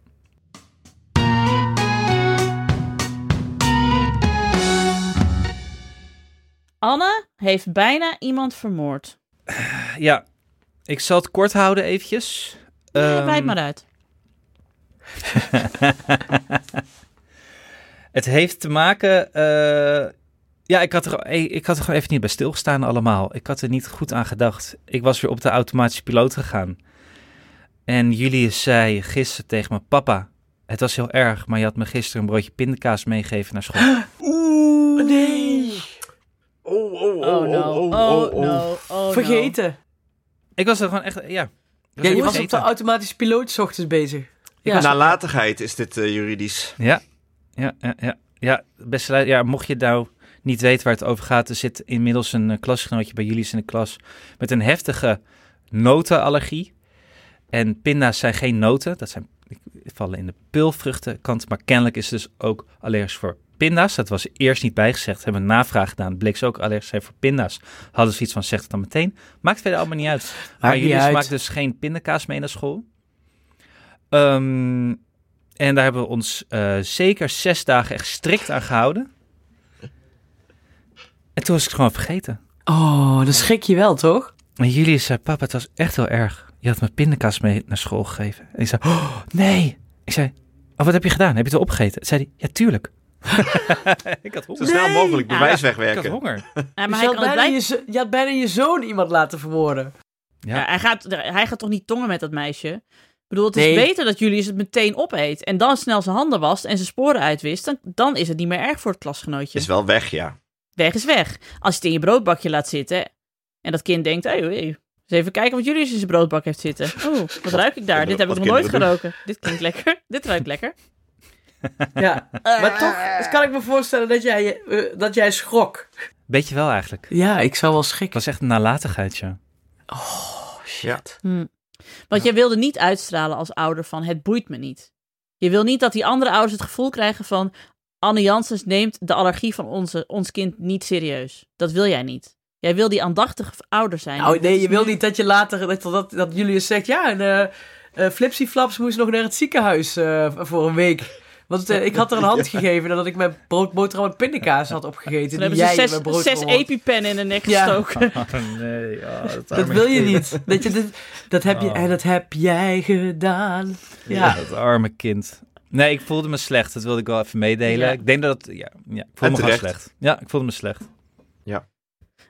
[SPEAKER 1] Anne heeft bijna iemand vermoord.
[SPEAKER 3] Ja, ik zal het kort houden eventjes.
[SPEAKER 1] Nee,
[SPEAKER 3] Ehm,
[SPEAKER 1] Wijd maar uit.
[SPEAKER 3] het heeft te maken. eh, ja, ik had, er, ik ik had er gewoon even niet bij stilgestaan allemaal. Ik had er niet goed aan gedacht. Ik was weer op de automatische piloot gegaan. En Julius zei gisteren tegen mijn papa. Het was heel erg, maar je had me gisteren een broodje pindakaas meegegeven naar school.
[SPEAKER 4] Oeh.
[SPEAKER 2] Nee.
[SPEAKER 4] Oh, oh, oh,
[SPEAKER 1] Oh no.
[SPEAKER 4] oh, oh, oh.
[SPEAKER 1] oh no.
[SPEAKER 2] Vergeten.
[SPEAKER 3] Ik was er gewoon echt, ja. Ik
[SPEAKER 2] Ja, je
[SPEAKER 3] heel
[SPEAKER 2] was op de
[SPEAKER 3] vergeten. Nou,
[SPEAKER 2] automatische piloot 's ochtends bezig.
[SPEAKER 3] Ik was-
[SPEAKER 4] Nalatigheid is dit eh, juridisch.
[SPEAKER 3] Ja, ja, ja, ja. ja beste lu- ja, mocht je nou niet weten waar het over gaat, er zit inmiddels een eh, klasgenootje bij jullie in de klas met een heftige notenallergie. En pinda's zijn geen noten, dat zijn die vallen in de pulvruchtenkant, maar kennelijk is het dus ook allergisch voor pinda's. Dat was er eerst niet bijgezegd, hebben een navraag gedaan, bleek ze ook allergisch zijn voor pinda's. Hadden ze iets van, zeg het dan meteen. Maakt verder allemaal niet uit. Maar
[SPEAKER 2] niet
[SPEAKER 3] jullie
[SPEAKER 2] uit.
[SPEAKER 3] maken dus geen pindakaas mee naar school. Ehm, en daar hebben we ons eh, zeker zes dagen echt strikt aan gehouden. En toen was ik het gewoon vergeten.
[SPEAKER 2] Oh, dan schrik je wel, toch?
[SPEAKER 3] En Julius zei, papa, het was echt heel erg. Je had me pindakaas mee naar school gegeven. En ik zei, oh, nee. Ik zei, oh, wat heb je gedaan? Heb je het opgegeten? Zei hij, ja, tuurlijk. ik had
[SPEAKER 4] Zo
[SPEAKER 3] honger.
[SPEAKER 4] snel mogelijk
[SPEAKER 1] Ja,
[SPEAKER 4] bewijs
[SPEAKER 3] Ik had
[SPEAKER 4] wegwerken.
[SPEAKER 3] honger.
[SPEAKER 1] Ja,
[SPEAKER 2] Dus
[SPEAKER 1] maar
[SPEAKER 2] je,
[SPEAKER 1] hij,
[SPEAKER 2] had
[SPEAKER 1] kan het
[SPEAKER 2] bijna
[SPEAKER 1] blijk-
[SPEAKER 2] je, zo- je had bijna je zoon iemand laten vermoorden.
[SPEAKER 1] ja, hij, gaat, hij gaat toch niet tongen met dat meisje? Ik bedoel, het is
[SPEAKER 2] Nee.
[SPEAKER 1] beter dat Julius het meteen opeet en dan snel zijn handen wast en zijn sporen uitwist. Dan, dan is het niet meer erg voor het klasgenootje.
[SPEAKER 4] Is wel weg, ja.
[SPEAKER 1] Weg is weg. Als je het in je broodbakje laat zitten en dat kind denkt, hey, hey, eens even kijken wat Julius in zijn broodbak heeft zitten. Oeh, wat ruik ik daar? Dit heb ik
[SPEAKER 4] Wat
[SPEAKER 1] nog nooit
[SPEAKER 4] kinderen
[SPEAKER 1] geroken. Dit klinkt lekker. Dit ruikt lekker.
[SPEAKER 2] Ja. Maar toch
[SPEAKER 1] Eh.
[SPEAKER 2] dus kan ik me voorstellen dat jij, je- eh, dat jij schrok.
[SPEAKER 3] Weet je wel eigenlijk.
[SPEAKER 2] Ja, ik zou wel
[SPEAKER 3] Het
[SPEAKER 2] schrikken.
[SPEAKER 3] was echt een nalatigheid, ja.
[SPEAKER 4] Ja.
[SPEAKER 1] Hmm. Want jij wilde niet uitstralen als ouder van het boeit me niet. Je wil niet dat die andere ouders het gevoel krijgen van Anne Janssens neemt de allergie van onze, ons kind niet serieus. Dat wil jij niet. Jij wil die aandachtige ouder zijn.
[SPEAKER 2] Nou, nee, je wil niet dat je later, dat, dat, dat Julius zegt, ja, en eh eh, Flipsy Flaps moest nog naar het ziekenhuis eh, voor een week. Want eh, ik had er een hand gegeven nadat ik mijn brood boterham en pindakaas had opgegeten.
[SPEAKER 1] Toen hebben
[SPEAKER 2] die
[SPEAKER 1] ze
[SPEAKER 2] jij in
[SPEAKER 1] zes,
[SPEAKER 2] mijn brood
[SPEAKER 1] zes
[SPEAKER 2] vermoord.
[SPEAKER 1] epipennen in de nek
[SPEAKER 2] Ja.
[SPEAKER 1] gestoken.
[SPEAKER 3] Oh, nee,
[SPEAKER 2] Dat wil je niet. Dat, je, dit- dat, heb je,
[SPEAKER 3] Oh.
[SPEAKER 2] en dat heb jij gedaan.
[SPEAKER 3] Ja.
[SPEAKER 2] Ja.
[SPEAKER 3] Dat arme kind. Nee, ik voelde me slecht. Dat wilde ik wel even meedelen.
[SPEAKER 1] Ja.
[SPEAKER 3] Ik denk dat... Ja, ja ik
[SPEAKER 4] En
[SPEAKER 3] voelde me gewoon
[SPEAKER 4] terecht.
[SPEAKER 3] slecht. Ja, ik voelde me slecht.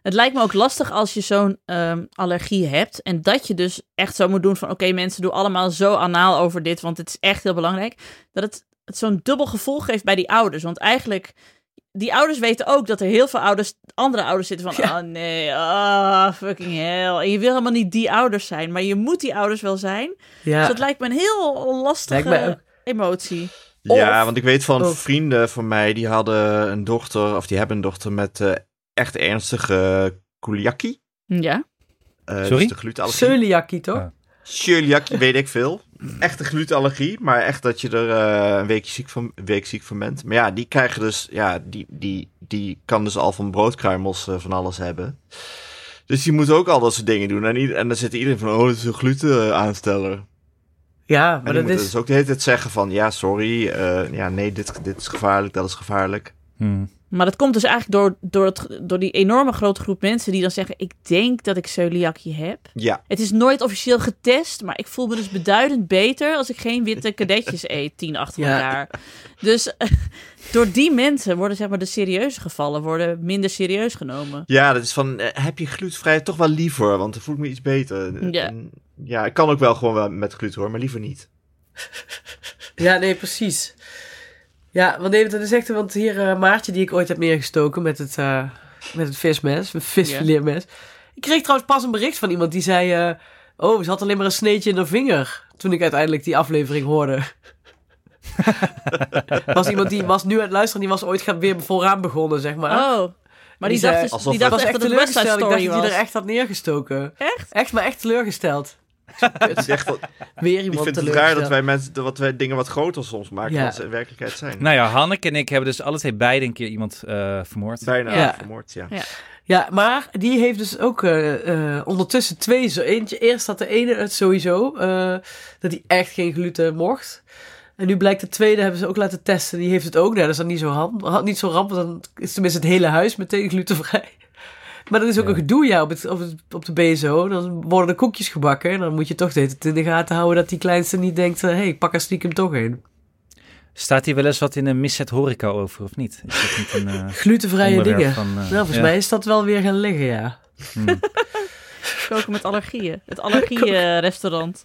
[SPEAKER 1] Het lijkt me ook lastig als je zo'n ehm, allergie hebt. En dat je dus echt zo moet doen van... oké mensen, doe allemaal zo anaal over dit... want het is echt heel belangrijk. Dat het, het zo'n dubbel gevoel geeft bij die ouders. Want eigenlijk... Die ouders weten ook dat er heel veel ouders, andere ouders zitten van...
[SPEAKER 2] Ja.
[SPEAKER 1] oh nee, ah fucking hell. En je wil helemaal niet die ouders zijn... maar je moet die ouders wel zijn. Dus
[SPEAKER 2] ja.
[SPEAKER 1] dat eh? lijkt me een heel lastige
[SPEAKER 2] Lijkt mij ook.
[SPEAKER 1] emotie.
[SPEAKER 4] Ja, want ik weet van
[SPEAKER 2] Of-
[SPEAKER 4] vrienden van mij, die hadden een dochter, of die hebben een dochter met eh, echt ernstige eh, celiakie.
[SPEAKER 1] Ja.
[SPEAKER 4] Eh,
[SPEAKER 3] Sorry?
[SPEAKER 4] dus de glutenallergie.
[SPEAKER 2] Celiakie, toch?
[SPEAKER 3] Ja.
[SPEAKER 4] Celiakie, weet ik veel. Echte glutenallergie, maar echt dat je er eh, een, weekje ziek van, een week ziek van bent. Maar ja, die krijgen dus, ja, die, die, die kan dus al van broodkruimels eh, van alles hebben. Dus die moet ook al dat soort dingen doen. En, ieder- en dan zit iedereen van, oh, dat is een glutenaansteller.
[SPEAKER 2] Ja, maar
[SPEAKER 4] En die
[SPEAKER 2] dat
[SPEAKER 4] moeten
[SPEAKER 2] is...
[SPEAKER 4] dus ook de hele tijd zeggen van, ja, sorry, eh, ja, nee, dit, dit is gevaarlijk, dat is gevaarlijk.
[SPEAKER 3] Hmm.
[SPEAKER 1] Maar dat komt dus eigenlijk door, door, het, door die enorme grote groep mensen die dan zeggen: Ik denk dat ik celiakie heb.
[SPEAKER 4] Ja,
[SPEAKER 1] Het is nooit officieel getest, maar ik voel me dus beduidend beter als ik geen witte kadetjes eet, tien achter
[SPEAKER 2] Ja.
[SPEAKER 1] elkaar. Dus eh, door die mensen worden zeg maar de serieuze gevallen worden minder serieus genomen.
[SPEAKER 4] ja, dat is van, eh, heb je glutenvrij toch wel liever, want dan voel ik me iets beter.
[SPEAKER 1] Ja.
[SPEAKER 4] ja, ik kan ook wel gewoon wel met gluten hoor, maar liever niet.
[SPEAKER 2] Ja, nee, precies. Ja, want nee, dat is echt... Want hier eh, Maartje, die ik ooit heb neergestoken met het, eh, met het vismes, met visfiletmes. Ik kreeg trouwens pas een bericht van iemand die zei... eh, oh, ze had alleen maar een sneetje in haar vinger. Toen ik uiteindelijk die aflevering hoorde. was iemand die was nu aan het luisteren, die was ooit gaan weer vooraan begonnen, zeg maar.
[SPEAKER 1] Oh, maar die,
[SPEAKER 2] Die zei-
[SPEAKER 1] dacht, dus,
[SPEAKER 4] alsof
[SPEAKER 1] die
[SPEAKER 4] het-
[SPEAKER 1] dacht
[SPEAKER 2] Ik eh, was
[SPEAKER 1] echt
[SPEAKER 2] echt
[SPEAKER 1] dat het West Side
[SPEAKER 2] teleurgesteld. Ik dacht
[SPEAKER 1] Story
[SPEAKER 2] dat hij
[SPEAKER 1] was.
[SPEAKER 2] er echt had neergestoken.
[SPEAKER 1] Echt?
[SPEAKER 2] Echt, maar echt teleurgesteld.
[SPEAKER 4] Het is echt wel-
[SPEAKER 2] Weer
[SPEAKER 4] Ik
[SPEAKER 2] iemand
[SPEAKER 4] vind het raar
[SPEAKER 2] teleurgesteld.
[SPEAKER 4] dat wij, mensen, dat- wat wij dingen wat groter soms maken
[SPEAKER 2] Ja.
[SPEAKER 4] dan ze in werkelijkheid zijn.
[SPEAKER 3] Nou ja, Hanneke en ik hebben dus alle twee beide een keer iemand eh, vermoord.
[SPEAKER 4] Bijna
[SPEAKER 2] Ja.
[SPEAKER 4] vermoord, ja.
[SPEAKER 2] Ja, maar die heeft dus ook eh, eh, ondertussen twee. Zo eentje, eerst had de ene het sowieso, eh, dat hij echt geen gluten mocht. En nu blijkt de tweede, hebben ze ook laten testen. Die heeft het ook. Nou, dat is dan niet zo, hand, niet zo ramp, want dan is tenminste het hele huis meteen glutenvrij. Maar dat is ook
[SPEAKER 3] Ja.
[SPEAKER 2] een gedoe, ja, op, het, op, het- op de BSO. Dan worden er koekjes gebakken. En dan moet je toch de hele tijd in de gaten houden dat die kleinste niet denkt... Hé, hey, ik pak er stiekem toch in.
[SPEAKER 3] Staat hier wel eens wat in een misset horeca over, of niet? Is dat niet een eh
[SPEAKER 2] Glutenvrije
[SPEAKER 3] onderwerp
[SPEAKER 2] dingen.
[SPEAKER 3] van... eh,
[SPEAKER 2] nou, volgens
[SPEAKER 3] ja.
[SPEAKER 2] mij is dat wel weer gaan liggen, ja.
[SPEAKER 3] Hmm.
[SPEAKER 1] Koken met allergieën. Het allergie-restaurant.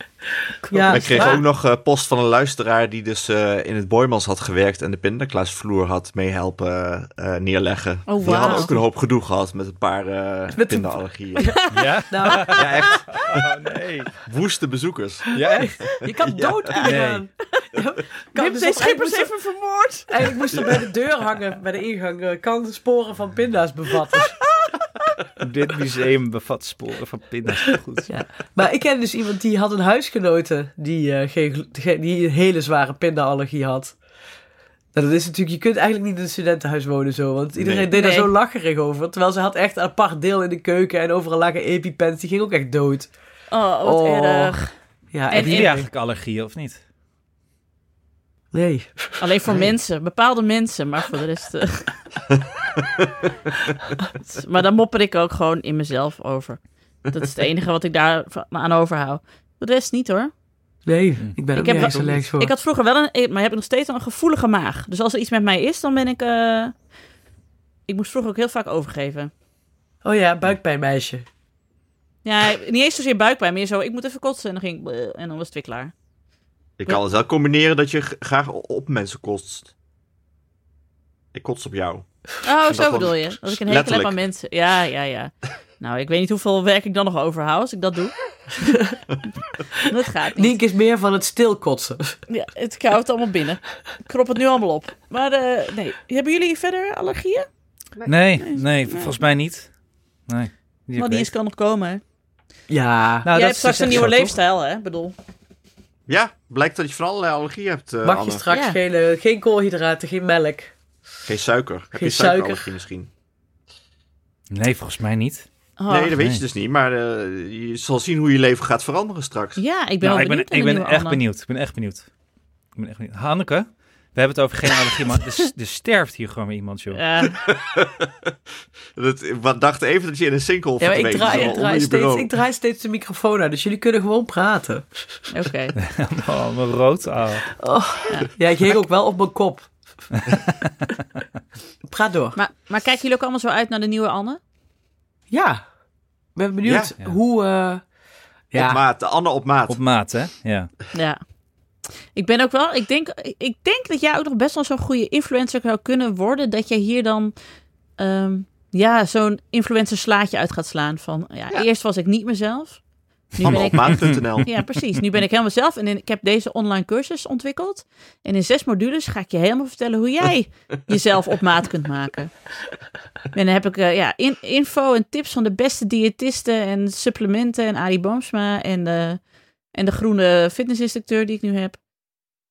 [SPEAKER 2] Ja, Ah.
[SPEAKER 4] Ik kreeg
[SPEAKER 2] maar-
[SPEAKER 4] ook nog eh, post van een luisteraar die dus eh, in het Boymans had gewerkt en de pindakaasvloer had meehelpen eh, eh, neerleggen.
[SPEAKER 1] Oh,
[SPEAKER 4] Die hadden
[SPEAKER 1] wauw.
[SPEAKER 4] ook een hoop gedoe gehad met een paar eh
[SPEAKER 2] Met de-
[SPEAKER 4] pindaallergieën.
[SPEAKER 3] Ja?
[SPEAKER 2] Nou,
[SPEAKER 4] ja, echt
[SPEAKER 3] Oh, nee.
[SPEAKER 4] woeste bezoekers.
[SPEAKER 3] Ja, echt?
[SPEAKER 2] je kan dood kunnen
[SPEAKER 3] Nee.
[SPEAKER 2] gaan.
[SPEAKER 1] Ik
[SPEAKER 2] Kan,
[SPEAKER 1] heb
[SPEAKER 2] dus
[SPEAKER 1] deze
[SPEAKER 2] eigenlijk
[SPEAKER 1] schippers
[SPEAKER 2] moest er-
[SPEAKER 1] even vermoord.
[SPEAKER 2] eigenlijk moest er bij de deur hangen, bij de ingang. eh, kan de sporen van pinda's bevatten.
[SPEAKER 1] Nou.
[SPEAKER 3] Dit museum bevat sporen van pinda's. Goed.
[SPEAKER 2] Ja. Maar ik ken dus iemand die had een huisgenote die, eh, geen, glo- ge- die een hele zware pindaallergie had. Nou, dat is natuurlijk, je kunt eigenlijk niet in een studentenhuis wonen zo, want iedereen
[SPEAKER 4] Nee.
[SPEAKER 2] deed daar
[SPEAKER 1] Nee.
[SPEAKER 2] zo lacherig over. Terwijl ze had echt een apart deel in de keuken en overal lagen epipens, die ging ook echt dood.
[SPEAKER 1] Oh, wat
[SPEAKER 2] Oh.
[SPEAKER 1] erg. En-
[SPEAKER 2] Ja, en,
[SPEAKER 3] Hebben
[SPEAKER 1] en-
[SPEAKER 3] jullie eigenlijk allergieën, of niet?
[SPEAKER 2] nee.
[SPEAKER 1] Alleen voor mensen. Bepaalde mensen. Maar voor de rest... eh. maar daar mopper ik ook gewoon in mezelf over. Dat is het enige wat ik daar van- me aan overhoud. De rest niet hoor.
[SPEAKER 2] Nee, ik ben ook
[SPEAKER 1] heb
[SPEAKER 2] nergens
[SPEAKER 4] dat-
[SPEAKER 2] allergisch voor.
[SPEAKER 1] Ik had vroeger wel een, ik- maar heb ik nog steeds een gevoelige maag. Dus als er iets met mij is, dan ben ik. eh, ik moest vroeger ook heel vaak overgeven.
[SPEAKER 2] Oh ja, buikpijnmeisje.
[SPEAKER 1] Ja, niet eens zozeer buikpijn, meer zo. Ik moet even kotsen en dan ging ik bleh, en dan was het weer klaar.
[SPEAKER 4] Je kan het wel combineren dat je g- graag o- op mensen kotst. Ik kots op jou.
[SPEAKER 1] Oh,
[SPEAKER 4] Dat
[SPEAKER 1] zo
[SPEAKER 4] wel-
[SPEAKER 1] bedoel je. Dat ik een hekel heb
[SPEAKER 4] letterlijk.
[SPEAKER 1] aan mensen. Ja, ja, ja. Nou, ik weet niet hoeveel werk ik dan nog overhoud als ik dat doe. dat gaat niet.
[SPEAKER 2] Nienke is meer van het stilkotsen.
[SPEAKER 1] Ja, het, ik hou het allemaal binnen. Ik krop het nu allemaal op. Maar eh, nee, hebben jullie verder allergieën?
[SPEAKER 3] Nee, nee, volgens mij niet. Nee. Die
[SPEAKER 1] Maar Oh,
[SPEAKER 3] ik
[SPEAKER 1] die
[SPEAKER 3] weet.
[SPEAKER 1] is kan nog komen. hè?
[SPEAKER 2] Ja,
[SPEAKER 3] Nou,
[SPEAKER 1] Jij
[SPEAKER 3] dat
[SPEAKER 1] hebt straks
[SPEAKER 3] is
[SPEAKER 1] een
[SPEAKER 3] echt
[SPEAKER 1] nieuwe
[SPEAKER 3] zo, toch?
[SPEAKER 1] leefstijl, hè? Ik bedoel.
[SPEAKER 4] Ja, blijkt dat je van allerlei allergieën hebt, eh,
[SPEAKER 2] mag je
[SPEAKER 4] Anne.
[SPEAKER 2] straks
[SPEAKER 1] Ja.
[SPEAKER 2] geen, eh, geen koolhydraten, geen melk.
[SPEAKER 4] Geen suiker. Heb
[SPEAKER 2] Geen
[SPEAKER 4] je
[SPEAKER 2] suiker.
[SPEAKER 4] suikerallergie misschien?
[SPEAKER 3] Nee, volgens mij niet.
[SPEAKER 1] Oh.
[SPEAKER 4] nee, dat weet
[SPEAKER 3] nee.
[SPEAKER 4] je dus niet. Maar eh, je zal zien hoe je leven gaat veranderen straks.
[SPEAKER 1] Ja, ik ben
[SPEAKER 3] Nou,
[SPEAKER 1] wel
[SPEAKER 3] ik ben,
[SPEAKER 1] benieuwd. naar
[SPEAKER 3] ik
[SPEAKER 1] de
[SPEAKER 3] ben
[SPEAKER 1] nieuwe
[SPEAKER 3] echt
[SPEAKER 1] Anne.
[SPEAKER 3] benieuwd. Ik ben echt benieuwd. Ik ben echt benieuwd. Hanneke, we hebben het over geen allergie, maar er, s- er sterft hier gewoon weer iemand, joh.
[SPEAKER 1] Ja,
[SPEAKER 4] Dat, wat dacht even dat je in een sinkhole
[SPEAKER 2] Ja, maar ik
[SPEAKER 4] verdween zat,
[SPEAKER 2] draai, ik,
[SPEAKER 4] onder
[SPEAKER 2] draai
[SPEAKER 4] je
[SPEAKER 2] steeds,
[SPEAKER 4] bureau.
[SPEAKER 2] ik draai steeds de microfoon uit, dus jullie kunnen gewoon praten.
[SPEAKER 1] oké.
[SPEAKER 3] Oh, mijn rood. Oh.
[SPEAKER 2] Ja, ik hing ook wel op mijn kop. Praat door.
[SPEAKER 1] Maar, maar kijken jullie ook allemaal zo uit naar de nieuwe Anne?
[SPEAKER 2] Ja, ik ben benieuwd
[SPEAKER 3] Ja.
[SPEAKER 2] hoe... eh,
[SPEAKER 4] Op
[SPEAKER 2] ja,
[SPEAKER 4] maat, de Anne op maat.
[SPEAKER 3] Op maat, hè? Ja.
[SPEAKER 1] Ja. Ik ben ook wel, ik denk, ik denk dat jij ook nog best wel zo'n goede influencer zou kunnen worden. Dat je hier dan, ehm, ja, zo'n influencer slaatje uit gaat slaan. Van, ja, eerst was ik niet mezelf. Nu
[SPEAKER 4] Anne
[SPEAKER 1] ben
[SPEAKER 4] op
[SPEAKER 1] ik,
[SPEAKER 4] maat.nl.
[SPEAKER 1] ja, precies. Nu ben ik helemaal zelf. En in- ik heb deze online cursus ontwikkeld. En in zes modules ga ik je helemaal vertellen hoe jij jezelf op maat kunt maken. En dan heb ik eh, ja, in- info en tips van de beste diëtisten en supplementen en Arie Boomsma en de, en de groene fitnessinstructeur die ik nu heb.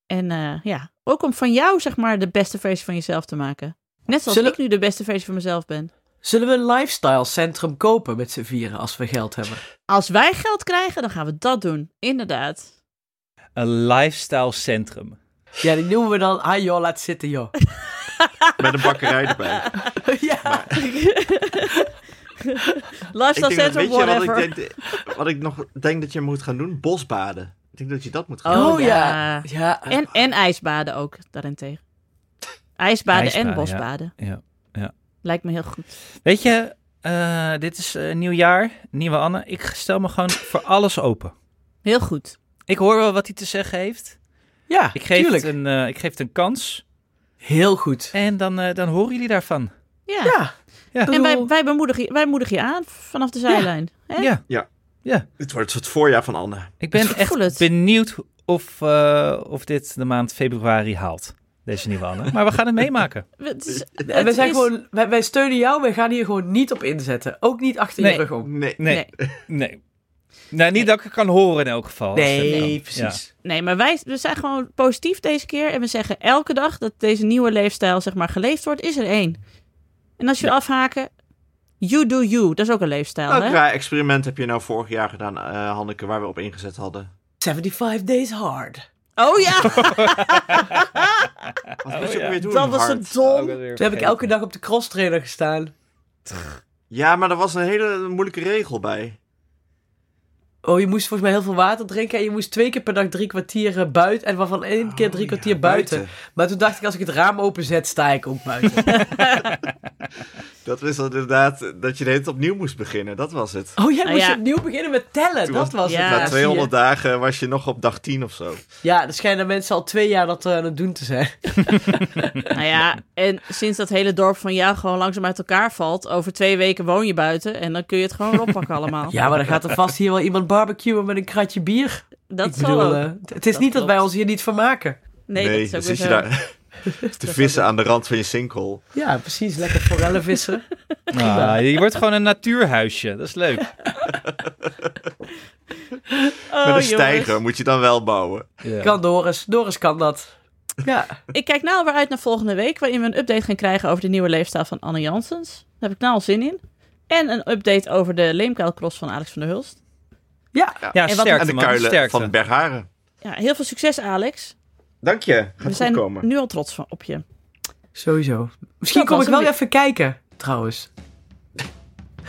[SPEAKER 1] En eh, ja, ook om van jou zeg maar de beste versie van jezelf te maken. Net zoals
[SPEAKER 2] Zullen-
[SPEAKER 1] ik nu de beste versie van mezelf ben.
[SPEAKER 2] zullen we een lifestyle centrum kopen met z'n vieren als we geld hebben?
[SPEAKER 1] Als wij geld krijgen, dan gaan we dat doen. Inderdaad.
[SPEAKER 3] Een lifestyle centrum.
[SPEAKER 2] Ja, die noemen we dan... Ah joh, laat zitten joh.
[SPEAKER 4] Met een bakkerij erbij.
[SPEAKER 2] ja.
[SPEAKER 4] Ik
[SPEAKER 1] Lifestyle
[SPEAKER 4] denk dat,
[SPEAKER 1] Center,
[SPEAKER 4] weet je wat ik,
[SPEAKER 1] whatever.
[SPEAKER 4] denk, wat ik nog denk dat je moet gaan doen? Bosbaden. Ik denk dat je dat moet gaan doen.
[SPEAKER 1] Oh,
[SPEAKER 2] Oh,
[SPEAKER 1] ja.
[SPEAKER 2] ja. ja.
[SPEAKER 1] En, en ijsbaden ook, daarentegen. Ijsbaden,
[SPEAKER 3] Ijsbaden,
[SPEAKER 1] en bosbaden.
[SPEAKER 3] Ja.
[SPEAKER 1] Lijkt me heel goed.
[SPEAKER 3] Weet je, eh, dit is eh, nieuw jaar, nieuwe Anne. Ik stel me gewoon voor alles open.
[SPEAKER 1] Heel goed.
[SPEAKER 3] Ik hoor wel wat hij te zeggen heeft.
[SPEAKER 2] ja,
[SPEAKER 3] Ik geef,
[SPEAKER 2] tuurlijk.
[SPEAKER 3] het een, eh, ik geef het een kans.
[SPEAKER 2] Heel goed.
[SPEAKER 3] En dan, eh, dan horen jullie daarvan.
[SPEAKER 1] Ja.
[SPEAKER 2] Ja.
[SPEAKER 3] Ja.
[SPEAKER 1] En wij,
[SPEAKER 2] Bedoel-
[SPEAKER 1] wij, bemoedigen, je- wij moedigen je aan vanaf de zijlijn. Hè?
[SPEAKER 3] Ja,
[SPEAKER 4] Het wordt het voorjaar van Anne.
[SPEAKER 3] ik
[SPEAKER 1] Ik
[SPEAKER 3] ben
[SPEAKER 1] voel
[SPEAKER 3] echt
[SPEAKER 1] het.
[SPEAKER 3] benieuwd of, eh, of dit de maand februari haalt. Deze nieuwe Anne. Maar we gaan het meemaken.
[SPEAKER 1] We- het is-
[SPEAKER 2] En wij,
[SPEAKER 1] het
[SPEAKER 2] zijn
[SPEAKER 1] is-
[SPEAKER 2] gewoon, wij, wij steunen jou, wij gaan hier gewoon niet op inzetten. Ook niet achter
[SPEAKER 3] Nee.
[SPEAKER 2] je rug om.
[SPEAKER 4] Nee.
[SPEAKER 3] Nee. Nee. Nou, niet dat ik het kan horen in elk geval. als dat
[SPEAKER 2] Nee,
[SPEAKER 3] kan.
[SPEAKER 2] precies.
[SPEAKER 1] Nee, maar wij we zijn gewoon positief deze keer. En we zeggen elke dag dat deze nieuwe leefstijl zeg maar, geleefd wordt, is er één. En als je wil afhaken, you do you. Dat is ook een leefstijl,
[SPEAKER 4] Welk
[SPEAKER 1] hè?
[SPEAKER 4] raar experiment heb je nou vorig jaar gedaan, eh, Hanneke, waar we op ingezet hadden?
[SPEAKER 2] 75 days hard.
[SPEAKER 1] Oh ja!
[SPEAKER 4] Wat moest je
[SPEAKER 3] ja.
[SPEAKER 4] ook weer doen?
[SPEAKER 1] Dat was
[SPEAKER 4] Hart?
[SPEAKER 1] een dom.
[SPEAKER 2] Toen heb ik elke dag op de cross trainer gestaan.
[SPEAKER 4] Ja, maar er was een hele moeilijke regel bij.
[SPEAKER 2] Oh, je moest volgens mij heel veel water drinken. En je moest twee keer per dag drie kwartier eh, buiten. En waarvan één keer drie
[SPEAKER 4] Oh,
[SPEAKER 2] kwartier
[SPEAKER 4] ja,
[SPEAKER 2] buiten. Maar toen dacht ik, als ik het raam openzet, sta ik ook buiten.
[SPEAKER 4] Dat is inderdaad dat je de hele tijd opnieuw moest beginnen. Dat was het.
[SPEAKER 2] oh, jij
[SPEAKER 1] Ah,
[SPEAKER 2] moest
[SPEAKER 1] ja.
[SPEAKER 2] opnieuw beginnen met tellen.
[SPEAKER 4] Toen
[SPEAKER 2] dat was
[SPEAKER 1] ja.
[SPEAKER 2] het.
[SPEAKER 4] Na
[SPEAKER 2] zie je.
[SPEAKER 4] 200 dagen was je nog op dag 10 of zo.
[SPEAKER 2] Ja, er schijnen mensen al twee jaar dat eh, aan het doen te zijn.
[SPEAKER 1] Nou ja, en sinds dat hele dorp van jou gewoon langzaam uit elkaar valt, over twee weken woon je buiten en dan kun je het gewoon oppakken allemaal.
[SPEAKER 2] Ja, maar dan gaat er vast hier wel iemand barbecuen met een kratje bier.
[SPEAKER 1] dat
[SPEAKER 2] ik
[SPEAKER 1] zal
[SPEAKER 2] bedoel,
[SPEAKER 1] ook.
[SPEAKER 2] eh, het- het is
[SPEAKER 1] Dat
[SPEAKER 2] niet dat wij
[SPEAKER 1] klopt.
[SPEAKER 2] ons hier niet vermaken.
[SPEAKER 1] nee, dat is
[SPEAKER 4] dan
[SPEAKER 1] ook Oh, weer
[SPEAKER 4] zit
[SPEAKER 1] zo.
[SPEAKER 4] je daar te vissen aan de rand van je sinkhole.
[SPEAKER 2] Ja, precies. Lekker forellen vissen.
[SPEAKER 3] Ah, je wordt gewoon een natuurhuisje. Dat is leuk.
[SPEAKER 1] Oh,
[SPEAKER 4] Met een
[SPEAKER 1] jongens.
[SPEAKER 4] stijger moet je dan wel bouwen.
[SPEAKER 3] Ja.
[SPEAKER 2] Kan Doris. Doris kan dat. Ja.
[SPEAKER 1] Ik kijk nou weer uit naar volgende week, waarin we een update gaan krijgen over de nieuwe leefstijl van Anne Janssens. Daar heb ik nou al zin in. En een update over de leemkuilcross van Alex van der Hulst.
[SPEAKER 2] Ja.
[SPEAKER 3] Ja,
[SPEAKER 1] En wat-
[SPEAKER 3] sterkte
[SPEAKER 4] En de
[SPEAKER 3] man,
[SPEAKER 4] kuilen
[SPEAKER 3] sterkte.
[SPEAKER 4] van Bergharen.
[SPEAKER 1] Ja, heel veel succes, Alex.
[SPEAKER 4] Dank je. Gaat
[SPEAKER 1] we
[SPEAKER 4] goed
[SPEAKER 1] zijn
[SPEAKER 4] komen.
[SPEAKER 1] nu al trots van, op je.
[SPEAKER 2] Sowieso. Misschien
[SPEAKER 1] Dat
[SPEAKER 2] kom
[SPEAKER 1] was
[SPEAKER 2] ik wel
[SPEAKER 1] hem weer.
[SPEAKER 2] even kijken, trouwens.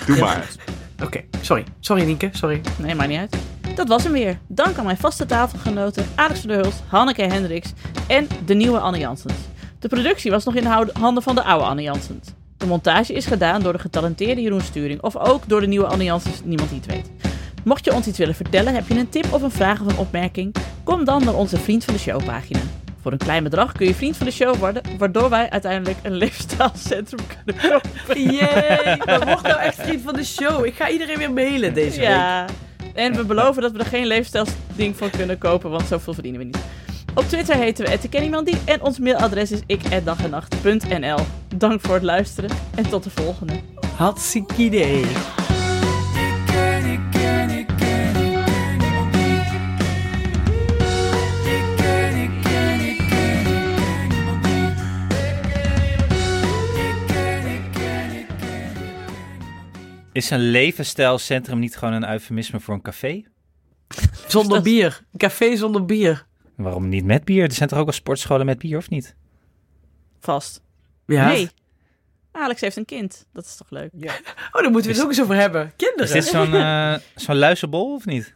[SPEAKER 4] Doe maar.
[SPEAKER 2] Oké, sorry. Sorry, Nienke. Sorry.
[SPEAKER 1] Nee, maar niet uit. Dat was hem weer. Dank aan mijn vaste tafelgenoten Alex van der Hulst, Hanneke Hendricks en de nieuwe Anne Janssens. De productie was nog in de hou- handen van de oude Anne Janssens. De montage is gedaan door de getalenteerde Jeroen Sturing of ook door de nieuwe Anne Janssens, niemand die het weet. Mocht je ons iets willen vertellen, heb je een tip of een vraag of een opmerking, kom dan naar onze Vriend van de Show pagina. Voor een klein bedrag kun je vriend van de show worden, waardoor wij uiteindelijk een leefstijlcentrum kunnen kopen.
[SPEAKER 2] Jee, dat wordt nou echt vriend van de show. Ik ga iedereen weer mailen deze week.
[SPEAKER 1] Ja. En we beloven dat we er geen leefstijlsding van kunnen kopen, want zoveel verdienen we niet. Op Twitter heten we @kenniemandie en ons mailadres is ik@dagennacht.nl. Dank voor het luisteren en tot de volgende.
[SPEAKER 2] Hartstikke idee.
[SPEAKER 6] Ik ken, ik ken, ik ken, ik ken niemand die. Ik ken, ik ken, ik ken, ik ken niemand die. Ik ken, ik ken, ik ken, ik ken niemand die.
[SPEAKER 3] Is een levensstijlcentrum niet gewoon een eufemisme voor een café?
[SPEAKER 2] Zonder bier. Een café zonder bier.
[SPEAKER 3] Waarom niet met bier? Er zijn toch ook al sportscholen met bier, of niet?
[SPEAKER 1] Vast.
[SPEAKER 2] Ja.
[SPEAKER 1] Nee. Alex heeft een kind. Dat is toch leuk?
[SPEAKER 2] Oh, daar moeten we het ook eens over hebben.
[SPEAKER 3] Is
[SPEAKER 2] Kinderen.
[SPEAKER 3] dit zo'n eh, zo'n luizenbol, of niet?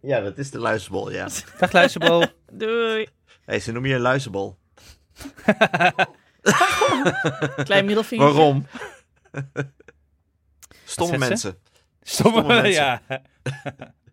[SPEAKER 4] Ja, dat is de luizenbol, ja.
[SPEAKER 3] Dag luizenbol.
[SPEAKER 1] Doei.
[SPEAKER 4] Hey, ze noemen je een luizenbol.
[SPEAKER 1] Klein middelvinger.
[SPEAKER 4] Waarom?
[SPEAKER 3] Wat zegt
[SPEAKER 4] Stomme
[SPEAKER 3] ze?
[SPEAKER 4] mensen.
[SPEAKER 3] Stomme,
[SPEAKER 4] Stomme mensen.
[SPEAKER 3] ja.